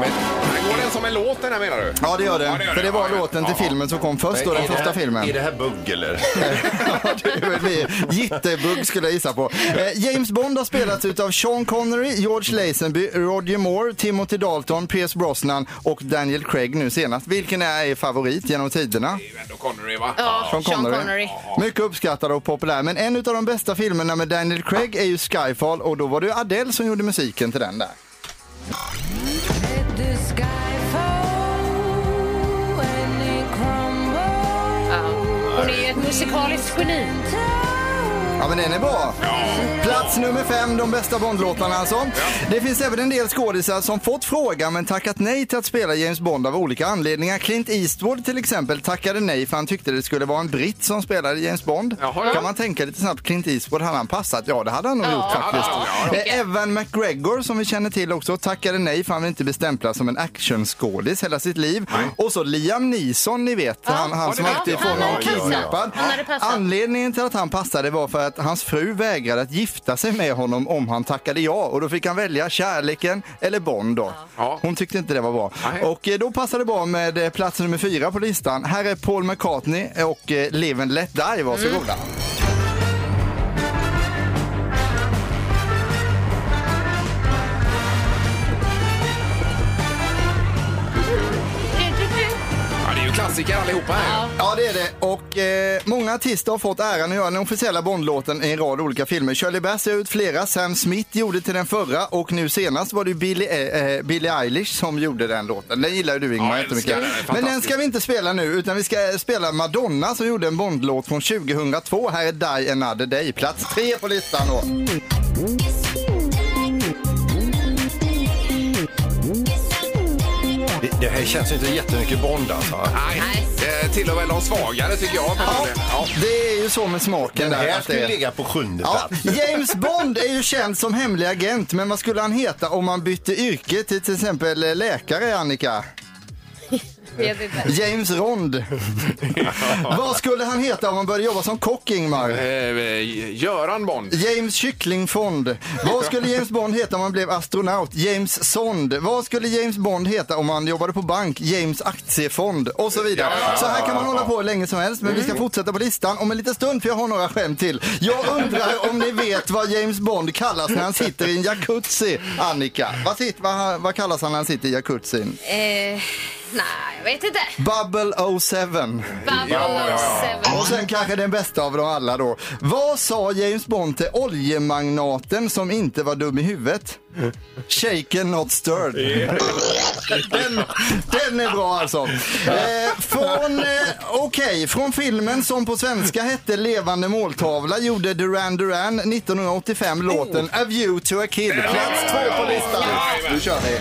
Speaker 3: Men, men går den som en låt, den här, menar du?
Speaker 6: Ja det gör
Speaker 3: Ja, det gör
Speaker 6: det. För
Speaker 3: det.
Speaker 6: det var
Speaker 3: Ja, ja.
Speaker 6: låten till
Speaker 3: Ja.
Speaker 6: filmen som kom först då,
Speaker 5: Men
Speaker 6: den
Speaker 5: är det
Speaker 6: första
Speaker 5: här- Är
Speaker 6: filmen.
Speaker 5: det här bugg eller?
Speaker 6: Ja, det är väl vi. Jitterbug skulle jag gissa på. Eh, James Bond har spelats utav Sean Connery, George Lazenby, Roger Moore, Timothy Dalton, Pierce Brosnan och Daniel Craig nu senast. Vilken är er favorit genom tiderna?
Speaker 3: Det är ju ändå Connery, va?
Speaker 4: Ja,
Speaker 6: Sean Connery. Mycket uppskattad och populär. Men en av de bästa filmerna med Daniel Craig är ju Skyfall och då var det ju Adele som gjorde musiken till den där.
Speaker 4: Ja. Hon är ju ett musikaliskt geni.
Speaker 6: Ja men den är bra. Plats nummer fem, de bästa Bondlåtarna alltså. Det finns även en del skådisar som fått frågan men tackat nej till att spela James Bond av olika anledningar. Clint Eastwood till exempel tackade nej för han tyckte det skulle vara en britt som spelade James Bond.
Speaker 3: Jaha, ja.
Speaker 6: Kan man tänka lite snabbt, Clint Eastwood, hade han passat? Ja det hade han nog
Speaker 4: Ja.
Speaker 6: gjort faktiskt.
Speaker 3: Ja,
Speaker 6: Eh, Evan McGregor som vi känner till också tackade nej för han vill inte bli stämplad som en actionskådis hela sitt liv. Och så Liam Neeson ni vet, han, han som
Speaker 3: det
Speaker 6: alltid
Speaker 3: vet
Speaker 6: får
Speaker 3: jag.
Speaker 6: någon
Speaker 4: Han hade passat.
Speaker 6: kidnappad.
Speaker 4: Han hade passat.
Speaker 6: Anledningen till att han passade var för att hans fru vägrade att gifta sig med honom om han tackade ja och då fick han välja kärleken eller Bond då.
Speaker 3: Ja.
Speaker 6: Hon tyckte inte det var bra.
Speaker 3: Nej.
Speaker 6: Och eh, då passade det bra med eh, plats nummer fyra på listan. Här är Paul McCartney och eh, Live and Let Die, varsågoda.
Speaker 3: Ja, det är ju klassiker allihopa här.
Speaker 6: Ja, det är det. Och eh, många artister har fått äran att göra den officiella Bondlåten i en rad olika filmer. Shirley Bass har gjort flera, Sam Smith gjorde till den förra och nu senast var det ju Billie, eh, eh, Billie Eilish som gjorde den låten. Den gillar ju du Ingmar
Speaker 3: Ja, jag
Speaker 6: jättemycket.
Speaker 3: älskar den.
Speaker 6: Men den
Speaker 3: Fantastisk.
Speaker 6: ska vi inte spela nu utan vi ska spela Madonna som gjorde en Bondlåt från 2002. Här är Die Another Day, plats tre på listan då.
Speaker 5: Det, det här känns ju inte jättemycket Bond alltså.
Speaker 3: Nej, eh, till och med de svagare tycker jag.
Speaker 6: Ja,
Speaker 3: personligen. Ja.
Speaker 6: det är ju så med smaken
Speaker 5: Den
Speaker 6: där.
Speaker 5: här
Speaker 6: att det
Speaker 5: skulle
Speaker 6: är-
Speaker 5: ligga på sjunde
Speaker 6: alltså- Ja,
Speaker 5: plats.
Speaker 6: James Bond är ju känd som hemlig agent, men vad skulle han heta om han bytte yrke till till exempel eh, läkare, Annika?
Speaker 4: Vet inte.
Speaker 6: James Rond. vad skulle han heta om han började jobba som kock, Ingmar?
Speaker 3: Eh, eh, Göran Bond.
Speaker 6: James Kycklingfond. Vad skulle James Bond heta om han blev astronaut? James Sond. Vad skulle James Bond heta om han jobbade på bank? James Aktiefond. Och så vidare. Så här kan man hålla på hur länge som helst. Men vi ska fortsätta på listan om en liten stund för jag har några skämt till. Jag undrar om ni vet vad James Bond kallas när han sitter i en jacuzzi, Annika? Vad, sitter, vad, vad kallas han när han sitter i jacuzzin?
Speaker 4: Eh, nej, jag vet inte.
Speaker 6: Bubble 07.
Speaker 4: Babble
Speaker 6: Och sen kanske den bästa av dem alla då. Vad sa James Bond till oljemagnaten som inte var dum i huvudet? Shaken not stirred. Den, den är bra alltså. Eh, från, eh, okej, från filmen som på svenska hette Levande måltavla gjorde Duran Duran 1985 låten A view to a kid. Plats två på listan. Nu kör vi.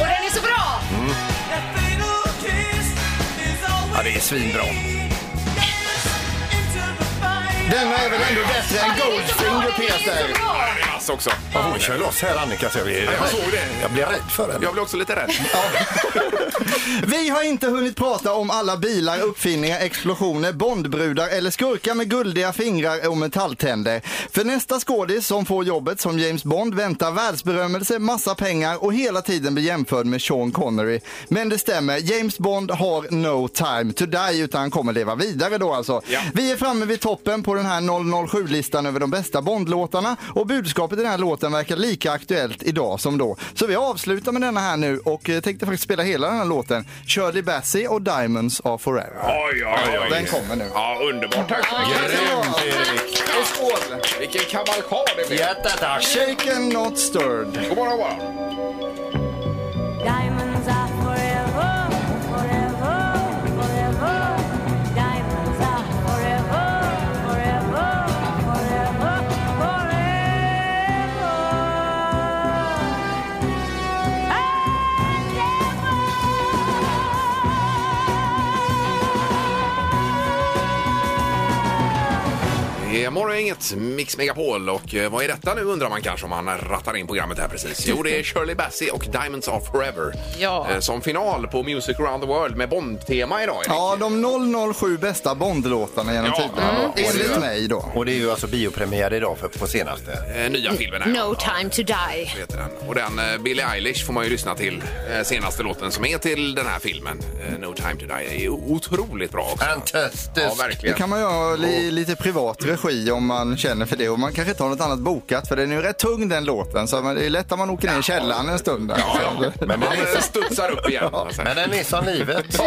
Speaker 4: Och den är så bra!
Speaker 5: Ja, det är svinbra.
Speaker 6: Den var även ändå bättre än
Speaker 4: Den är så bra,
Speaker 6: Goldfinger,
Speaker 4: den är så
Speaker 6: Peter.
Speaker 4: bra.
Speaker 3: Det är Mats också.
Speaker 5: Ja, Hon kör loss här Annika. Så jag, blir,
Speaker 3: Jag såg det.
Speaker 5: jag blir rädd för henne.
Speaker 3: Jag blev också lite rädd.
Speaker 6: Vi har inte hunnit prata om alla bilar, uppfinningar, explosioner, Bondbrudar eller skurkar med guldiga fingrar och metalltänder. För nästa skådis som får jobbet som James Bond väntar världsberömmelse, massa pengar och hela tiden blir jämförd med Sean Connery. Men det stämmer, James Bond har no time to die utan han kommer leva vidare då alltså.
Speaker 3: Ja.
Speaker 6: Vi är framme vid toppen på den här 007-listan över de bästa Bondlåtarna och budskapet i den här låten verkar lika aktuellt idag som då. Så vi avslutar med denna här nu och eh, tänkte faktiskt spela hela den här låten. Shirley Bassey och Diamonds are forever.
Speaker 3: Oj, oj, oj.
Speaker 6: Den kommer nu.
Speaker 3: Ja, underbart. Tack så mycket.
Speaker 6: Grymt, Och skål!
Speaker 3: Vilken kavalkad det blev.
Speaker 5: Jättetack!
Speaker 6: Shaken not stirred.
Speaker 3: God morgon, god morgon. Eh, Morgon är inget Mix Megapol och eh, vad är detta nu undrar man kanske om man rattar in programmet här precis. Jo, det är Shirley Bassey och Diamonds Are Forever
Speaker 4: Ja.
Speaker 3: eh, som final på Music Around the World med Bond-tema idag. Erik.
Speaker 6: Ja, de 007 bästa Bondlåtarna genom
Speaker 3: Ja,
Speaker 6: tiderna.
Speaker 3: mm.
Speaker 6: då. Enligt mig då.
Speaker 5: Och det är ju alltså biopremiär idag för, på senaste.
Speaker 3: Eh, Nya filmen här.
Speaker 4: No time to die.
Speaker 3: Ja, heter den. Och den eh, Billie Eilish får man ju lyssna till eh, senaste låten som är till den här filmen. Eh, No time to die är ju otroligt bra också. Ja,
Speaker 5: Fantastisk!
Speaker 6: Det
Speaker 3: verkligen.
Speaker 6: kan man göra i lite privat regi om man känner för det. Och man kanske inte har något annat bokat för den är ju rätt tung den låten. Så man- det är lätt att man åker ner i källaren en stund. Där.
Speaker 3: Ja, ja. Men man eh, studsar upp igen. Alltså.
Speaker 5: Men den är som livet.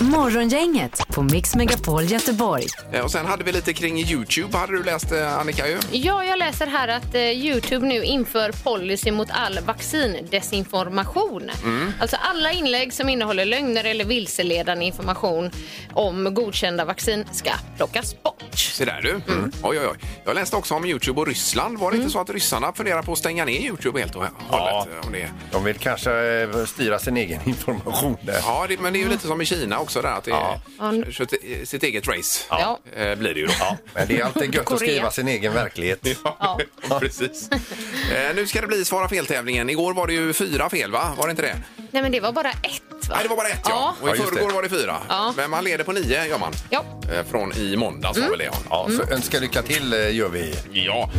Speaker 2: Morgongänget på Mix Megapol Göteborg.
Speaker 3: Eh, Och sen hade vi lite kring Youtube, hade du läst eh, Annika? Ju?
Speaker 4: Ja, jag läser här att eh, Youtube nu inför policy mot all vaccindesinformation.
Speaker 3: Mm.
Speaker 4: Alltså alla inlägg som innehåller lögner eller vilseledande information om godkända vaccin ska plockas bort.
Speaker 3: Se där du. Oj, oj, oj. Jag läste också om Youtube och Ryssland. Var det inte så att ryssarna funderar på att stänga ner Youtube helt och hållet?
Speaker 5: Ja.
Speaker 3: Eh, Om det...
Speaker 5: De vill kanske eh, styra sin egen information där.
Speaker 3: Ja, det, men det är ju lite som i Kina också där, att det är
Speaker 4: Ja.
Speaker 3: kört i- sitt eget race.
Speaker 4: Ja.
Speaker 3: Eh, blir det ju då.
Speaker 5: Men det är alltid gött att
Speaker 4: Korea.
Speaker 5: skriva sin egen verklighet.
Speaker 4: Ja.
Speaker 3: Precis. Eh, nu ska det bli Svara fel-tävlingen. Igår var det ju fyra fel, va? Var det inte det?
Speaker 4: Nej, men det var bara ett, va?
Speaker 3: Nej, det var bara ett, ja.
Speaker 4: Ja.
Speaker 3: Och i
Speaker 5: Ja, just
Speaker 3: förrgår
Speaker 5: det.
Speaker 3: var det fyra.
Speaker 4: Ja. Mm.
Speaker 3: Men man leder på nio, gör man.
Speaker 4: Ja.
Speaker 3: Eh, Från i måndags var väl det, ja.
Speaker 5: Ja, så önska lycka till eh, gör vi.
Speaker 3: Ja.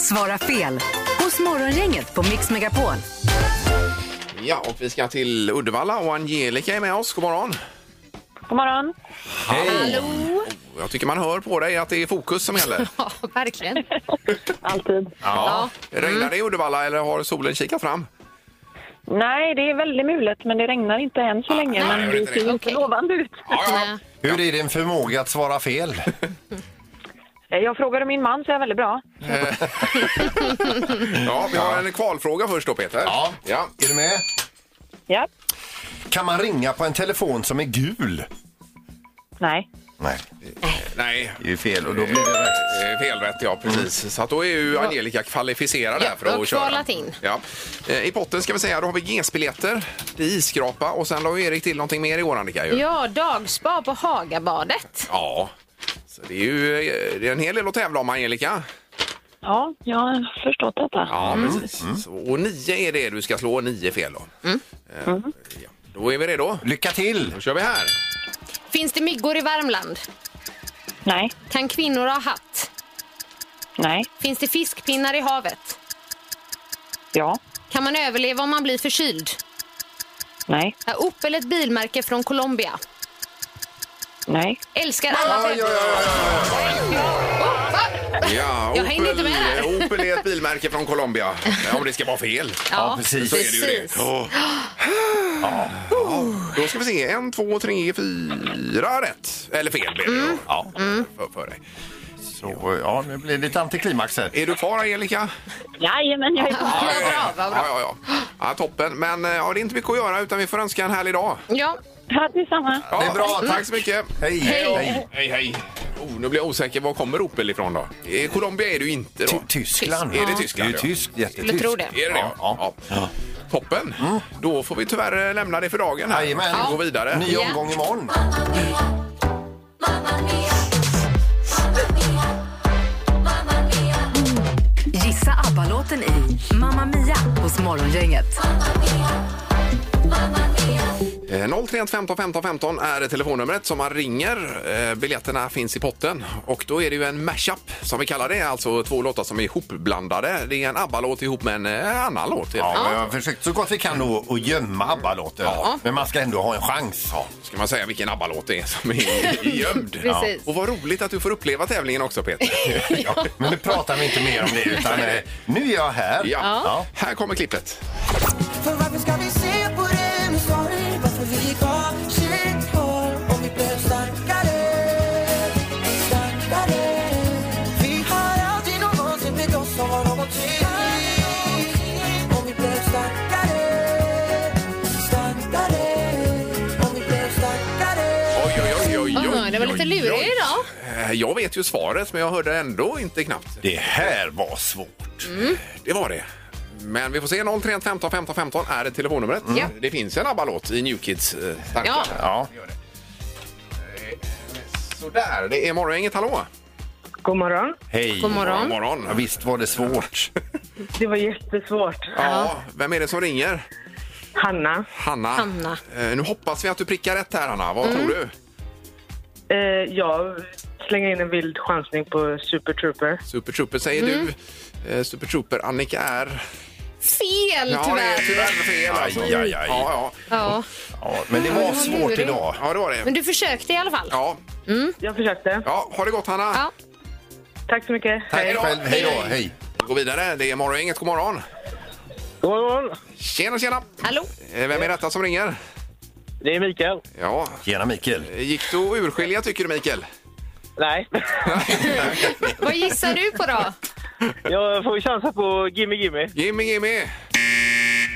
Speaker 2: Svara fel hos Morgongänget på Mix Megapol.
Speaker 3: ja, och vi ska till Uddevalla och Angelica är med oss. God morgon.
Speaker 8: God morgon.
Speaker 4: Hallå!
Speaker 3: Oh, Jag tycker man hör på dig att det är fokus som gäller.
Speaker 4: Ja, verkligen.
Speaker 8: Alltid.
Speaker 3: Ja.
Speaker 4: Mm.
Speaker 3: Regnar det i Uddevalla eller har solen kikat fram?
Speaker 8: Nej, det är väldigt mulet, men det regnar inte än så länge.
Speaker 3: nej,
Speaker 8: men
Speaker 3: det gör
Speaker 8: det
Speaker 3: inte
Speaker 8: ser
Speaker 3: det.
Speaker 8: ju inte
Speaker 4: Okej.
Speaker 8: lovande ut.
Speaker 4: Nej.
Speaker 5: Hur är din förmåga att svara fel?
Speaker 8: Eh, Jag frågade min man, så jag är väldigt bra.
Speaker 3: Ja, vi har en kvalfråga först då, Peter.
Speaker 5: Ja.
Speaker 3: ja.
Speaker 5: Är du med?
Speaker 8: Ja.
Speaker 5: Kan man ringa på en telefon som är gul?
Speaker 8: Nej.
Speaker 5: Nej,
Speaker 3: Nej.
Speaker 5: det är fel och då blir det
Speaker 3: Eh,
Speaker 5: rätt.
Speaker 3: Felrätt, ja precis. Så att då är ju Angelica kvalificerad
Speaker 4: Mm. Ja,
Speaker 3: här för
Speaker 4: och
Speaker 3: att köra.
Speaker 4: kvalat in.
Speaker 3: Ja. Eh, I potten ska vi säga, då har vi GS-biljetter, det är isskrapa och sen la ju Erik till någonting mer i år Annika ju.
Speaker 4: Ja, dagspa på Hagabadet.
Speaker 3: Ja. Så det är ju eh, det är en hel del att tävla om Angelica.
Speaker 8: Ja, jag har förstått detta.
Speaker 3: Ja, precis. Mm. Så, och nio är det du ska slå, och nio fel då.
Speaker 4: Mm.
Speaker 3: Eh, Ja. Då är vi redo.
Speaker 5: Lycka till!
Speaker 3: Då kör vi här.
Speaker 4: Finns det myggor i Värmland?
Speaker 8: Nej.
Speaker 4: Kan kvinnor ha hatt?
Speaker 8: Nej.
Speaker 4: Finns det fiskpinnar i havet?
Speaker 8: Ja.
Speaker 4: Kan man överleva om man blir förkyld?
Speaker 8: Nej.
Speaker 4: Är Opel ett bilmärke från Colombia?
Speaker 8: Nej.
Speaker 4: Älskar alla
Speaker 5: Oj, oj, oj,
Speaker 4: Oh, va?
Speaker 3: Ja,
Speaker 4: Jag hängde inte med.
Speaker 3: eh, Opel är ett bilmärke från Colombia. Ja, Om det ska vara fel.
Speaker 5: Ja, precis.
Speaker 3: Så är det ju det. Ja. Ja. Då ska vi se. En, två, tre, fyra rätt. Eller fel blev det då. ja. för, för dig.
Speaker 5: Så, ja, nu blir det lite antiklimax här.
Speaker 3: Är du kvar, Angelica?
Speaker 8: Jajamän, jag är på.
Speaker 4: Vad bra, vad bra.
Speaker 3: Ja, ja, ja. ja, toppen. Men eh, ja, det är inte mycket att göra utan vi får önska en härlig dag.
Speaker 4: Ja,
Speaker 8: Ja, detsamma.
Speaker 3: Ja,
Speaker 5: Det är bra,
Speaker 3: Tack
Speaker 5: tack.
Speaker 3: så mycket.
Speaker 5: Hej! Hej.
Speaker 3: Hej, hej. Oh, nu blir jag osäker. Var kommer Opel ifrån då? I Colombia är du inte
Speaker 5: Ty-
Speaker 3: då.
Speaker 5: Tyskland.
Speaker 3: Är det
Speaker 5: Det är
Speaker 3: Tyskland?
Speaker 5: ju tyskt,
Speaker 4: skulle
Speaker 5: jättetyskt.
Speaker 4: tro det.
Speaker 3: Ja. Är det det?
Speaker 5: Ja.
Speaker 3: Ja. Toppen. Då får vi tyvärr eh, lämna det för dagen. här.
Speaker 5: Jajamän.
Speaker 3: Vi går vidare.
Speaker 5: Ny omgång imorgon.
Speaker 2: Gissa ABBA-låten i Mamma Mia hos Morgongänget.
Speaker 3: Eh, 031 15 15 15 är telefonnumret som man ringer. Eh, Biljetterna finns i potten. Och då är det ju en mashup som vi kallar det. Alltså två låtar som är ihopblandade. Det är en ABBA-låt ihop med en eh, annan låt.
Speaker 5: Ja, men jag har försökt så gott vi kan att, att gömma ABBA-låten. Men man ska ändå ha en chans.
Speaker 3: Ska man säga vilken ABBA-låt det är som är gömd.
Speaker 4: Precis.
Speaker 3: Och vad roligt att du får uppleva tävlingen också Peter.
Speaker 5: Ja. Men nu pratar vi inte mer om det, utan eh, nu är jag här.
Speaker 3: Ja.
Speaker 5: Ja.
Speaker 3: Här kommer klippet.
Speaker 1: För varför ska vi se på det med sorg? Varför vi gav sitt håll? Om vi blev starkare, starkare Vi har aldrig någonsin brytt oss om vad någon tyckt Om vi blev starkare, starkare Om vi blev starkare
Speaker 3: Oj, oj, oj, oj, oj,
Speaker 4: Aha, det var lite
Speaker 3: oj,
Speaker 4: lurig
Speaker 3: oj.
Speaker 4: idag.
Speaker 3: Eh, Jag vet ju svaret men jag hörde ändå inte knappt.
Speaker 5: Det här var svårt.
Speaker 3: Mm. Det var det. Men vi får se. 031 15 15 15 är det telefonnumret.
Speaker 4: Ja.
Speaker 3: Det finns en ABBA-låt i New Kids eh, tankar.
Speaker 4: Ja.
Speaker 5: Ja.
Speaker 3: det gör det. Eh, Sådär, det är morgongänget. Hallå!
Speaker 8: God morgon.
Speaker 5: Hej!
Speaker 4: God morgon.
Speaker 3: morgon.
Speaker 5: Ja, Visst var det svårt.
Speaker 8: Det var jättesvårt.
Speaker 3: Ja, vem är det som ringer?
Speaker 8: Hanna,
Speaker 3: Hanna.
Speaker 4: Hanna.
Speaker 3: Eh, nu hoppas vi att du prickar rätt här, Hanna. Vad tror du?
Speaker 8: eh, jag slänger in en vild chansning på Super Trooper.
Speaker 3: Super Trooper säger du. Eh, Super Trooper, Annika är...
Speaker 4: Fel
Speaker 3: Ja, det är
Speaker 4: tyvärr.
Speaker 3: tyvärr fel. Alltså.
Speaker 5: Aj, aj, aj.
Speaker 3: Ja, ja.
Speaker 4: Ja.
Speaker 5: Ja, men det var svårt idag.
Speaker 3: ja, det var det.
Speaker 4: Men du försökte i alla fall.
Speaker 3: Ja.
Speaker 8: Jag försökte.
Speaker 3: ja, ha det gott, Hanna.
Speaker 4: Ja.
Speaker 8: Tack så mycket.
Speaker 5: Tack själv. Hej då. Hej.
Speaker 3: Vi går vidare. Det är morgongänget. God morgon.
Speaker 7: God morgon!
Speaker 3: Tjena, tjena!
Speaker 4: Hallå?
Speaker 3: Eh, Vem är detta som ringer?
Speaker 7: Det är Mikael.
Speaker 3: Ja,
Speaker 5: Tjena Mikael.
Speaker 3: gick du att urskilja tycker du, Mikael?
Speaker 7: Nej,
Speaker 4: Vad gissar du på då?
Speaker 7: jag får chansa på Gimme Gimme.
Speaker 3: Gimme, gimme!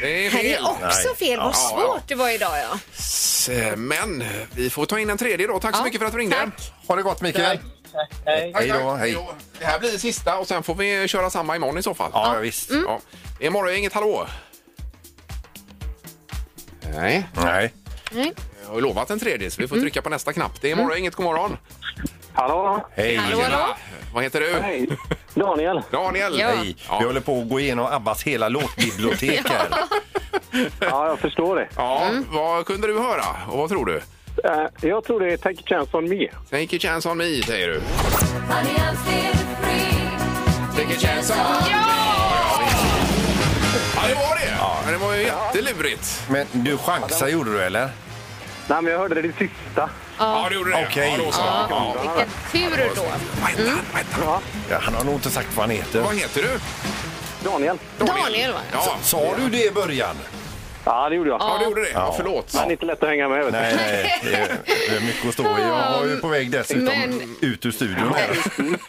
Speaker 3: Det är
Speaker 4: Här
Speaker 3: fel.
Speaker 4: är också fel. Vad
Speaker 3: Ja,
Speaker 4: svårt det var idag ja.
Speaker 3: S- Men vi får ta in en tredje då. Tack så
Speaker 4: Ja,
Speaker 3: mycket för att du ringde.
Speaker 4: tack.
Speaker 5: Ha det gott Mikael.
Speaker 7: Hej.
Speaker 5: Hej då.
Speaker 3: Tack.
Speaker 5: Hej.
Speaker 3: Det här blir sista och sen får vi köra samma imorgon i så fall.
Speaker 5: Ja, visst.
Speaker 3: Ja. Mm. Är morgongänget hallå? Nej,
Speaker 5: Nej.
Speaker 4: Nej.
Speaker 3: jag har ju lovat en tredje så vi
Speaker 4: Mm.
Speaker 3: får trycka på nästa knapp. Det är morgongänget, god morgon.
Speaker 7: Hallå?
Speaker 5: Hej.
Speaker 4: Hallå, hallå?
Speaker 3: Vad heter du?
Speaker 7: Hej. Daniel.
Speaker 3: Daniel.
Speaker 4: Ja.
Speaker 5: Hej. Vi håller på att gå igenom Abbas hela låtbibliotek här.
Speaker 7: Ja, jag förstår det.
Speaker 3: Ja,
Speaker 4: Mm.
Speaker 3: vad kunde du höra och vad tror du?
Speaker 7: Eh, Jag tror det är Take a chance on me.
Speaker 3: Take a chance on me, säger du. Take a chance on Ja, det var det! Ja. Det var ju jättelurigt.
Speaker 5: Men du chansar gjorde du eller?
Speaker 7: Nej, men jag hörde det sista.
Speaker 3: Ja, det gjorde det.
Speaker 5: Okej.
Speaker 3: Ja, då så. Ja.
Speaker 4: Vilken tur då.
Speaker 3: Vänta, vänta.
Speaker 5: Ja, han har nog inte sagt vad han
Speaker 3: Vad
Speaker 5: heter.
Speaker 3: heter du?
Speaker 7: Daniel.
Speaker 4: Daniel va?
Speaker 3: Ja,
Speaker 5: Sa du det i början?
Speaker 7: Ja, det gjorde jag.
Speaker 3: ja du gjorde det. Ja, förlåt.
Speaker 7: Han är inte lätt att hänga med. Vet
Speaker 5: Nej, nej. Det är, det är mycket att stå i. Jag var ju på väg dessutom
Speaker 4: Men-
Speaker 5: ut ur studion här.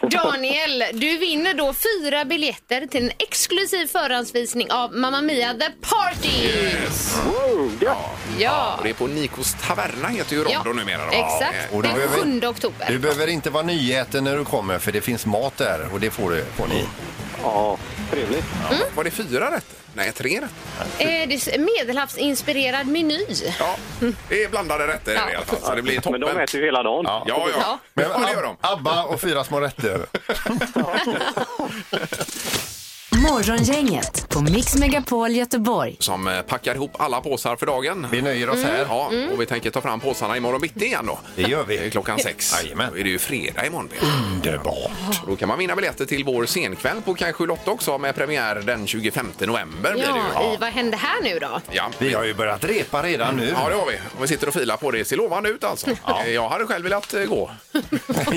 Speaker 4: Daniel, du vinner då fyra biljetter till en exklusiv förhandsvisning av Mamma Mia The Party!
Speaker 7: du. Wow, ja.
Speaker 4: Ja,
Speaker 3: Och det är på Nikos taverna, heter ju Rondo numera. Då.
Speaker 4: exakt.
Speaker 5: Och då
Speaker 4: Den
Speaker 5: behöver-
Speaker 4: 7 oktober.
Speaker 5: Du behöver inte vara nyäten när du kommer för det finns mat där och det får du får ni.
Speaker 7: ja. Trevligt.
Speaker 3: Ja. Var det fyra rätt? Nej, tre rätt.
Speaker 4: Eh, det är medelhavsinspirerad meny.
Speaker 3: Ja, det är blandade rätter i alla fall. Så det blir toppen.
Speaker 7: Men de äter ju hela dagen.
Speaker 3: Ja, ja. ja.
Speaker 4: Ja.
Speaker 3: Men, ja, det gör de.
Speaker 5: Abba och fyra små rätter.
Speaker 2: Morgongänget på Mix Megapol Göteborg.
Speaker 3: Som eh, packar ihop alla påsar för dagen.
Speaker 5: Vi nöjer oss här.
Speaker 3: Ja,
Speaker 4: Mm.
Speaker 3: och vi tänker ta fram påsarna imorgon bitti igen då.
Speaker 5: Det gör
Speaker 3: Mm. Det är
Speaker 5: vi.
Speaker 3: Klockan sex.
Speaker 5: Jajamän.
Speaker 3: Då är det ju fredag imorgon. Peter.
Speaker 5: Underbart.
Speaker 3: Och Då kan man vinna biljetter till vår scenkväll på kanske Lotta också med premiär den 25 november. Blir det ju.
Speaker 4: Ja, i vad hände här nu då?
Speaker 3: Ja.
Speaker 5: Vi har ju börjat repa redan nu.
Speaker 3: Ja, det har vi. Och vi sitter och filar på det. Det ser lovande ut alltså. Jag hade själv velat eh, gå.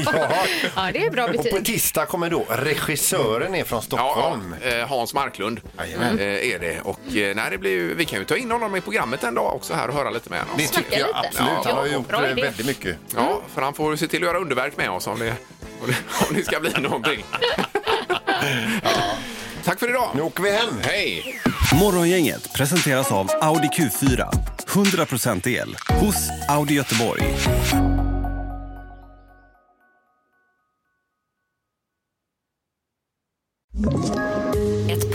Speaker 5: Ja.
Speaker 4: Ja, det är bra
Speaker 5: Och på
Speaker 4: betyg.
Speaker 5: tisdag kommer då regissören är från
Speaker 3: Ja,
Speaker 5: Stockholm.
Speaker 3: ja. Eh, Hans Marklund
Speaker 5: Jajamän.
Speaker 3: eh, är det. Och eh, nej, det blir, ju- vi kan ju ta in honom i programmet en dag också här och höra lite med honom.
Speaker 5: Det tycker jag
Speaker 4: lite.
Speaker 5: absolut. Han
Speaker 4: Ja,
Speaker 5: har ju gjort
Speaker 4: bra
Speaker 5: eh,
Speaker 4: idé.
Speaker 5: väldigt mycket.
Speaker 3: Ja, för han får ju se till att göra underverk med oss om det, om det, om det ska bli någonting. Tack för idag.
Speaker 5: Nu åker vi hem.
Speaker 3: Hej!
Speaker 11: Morgongänget presenteras av Audi Q4. 100% el hos Audi Göteborg.
Speaker 2: Ett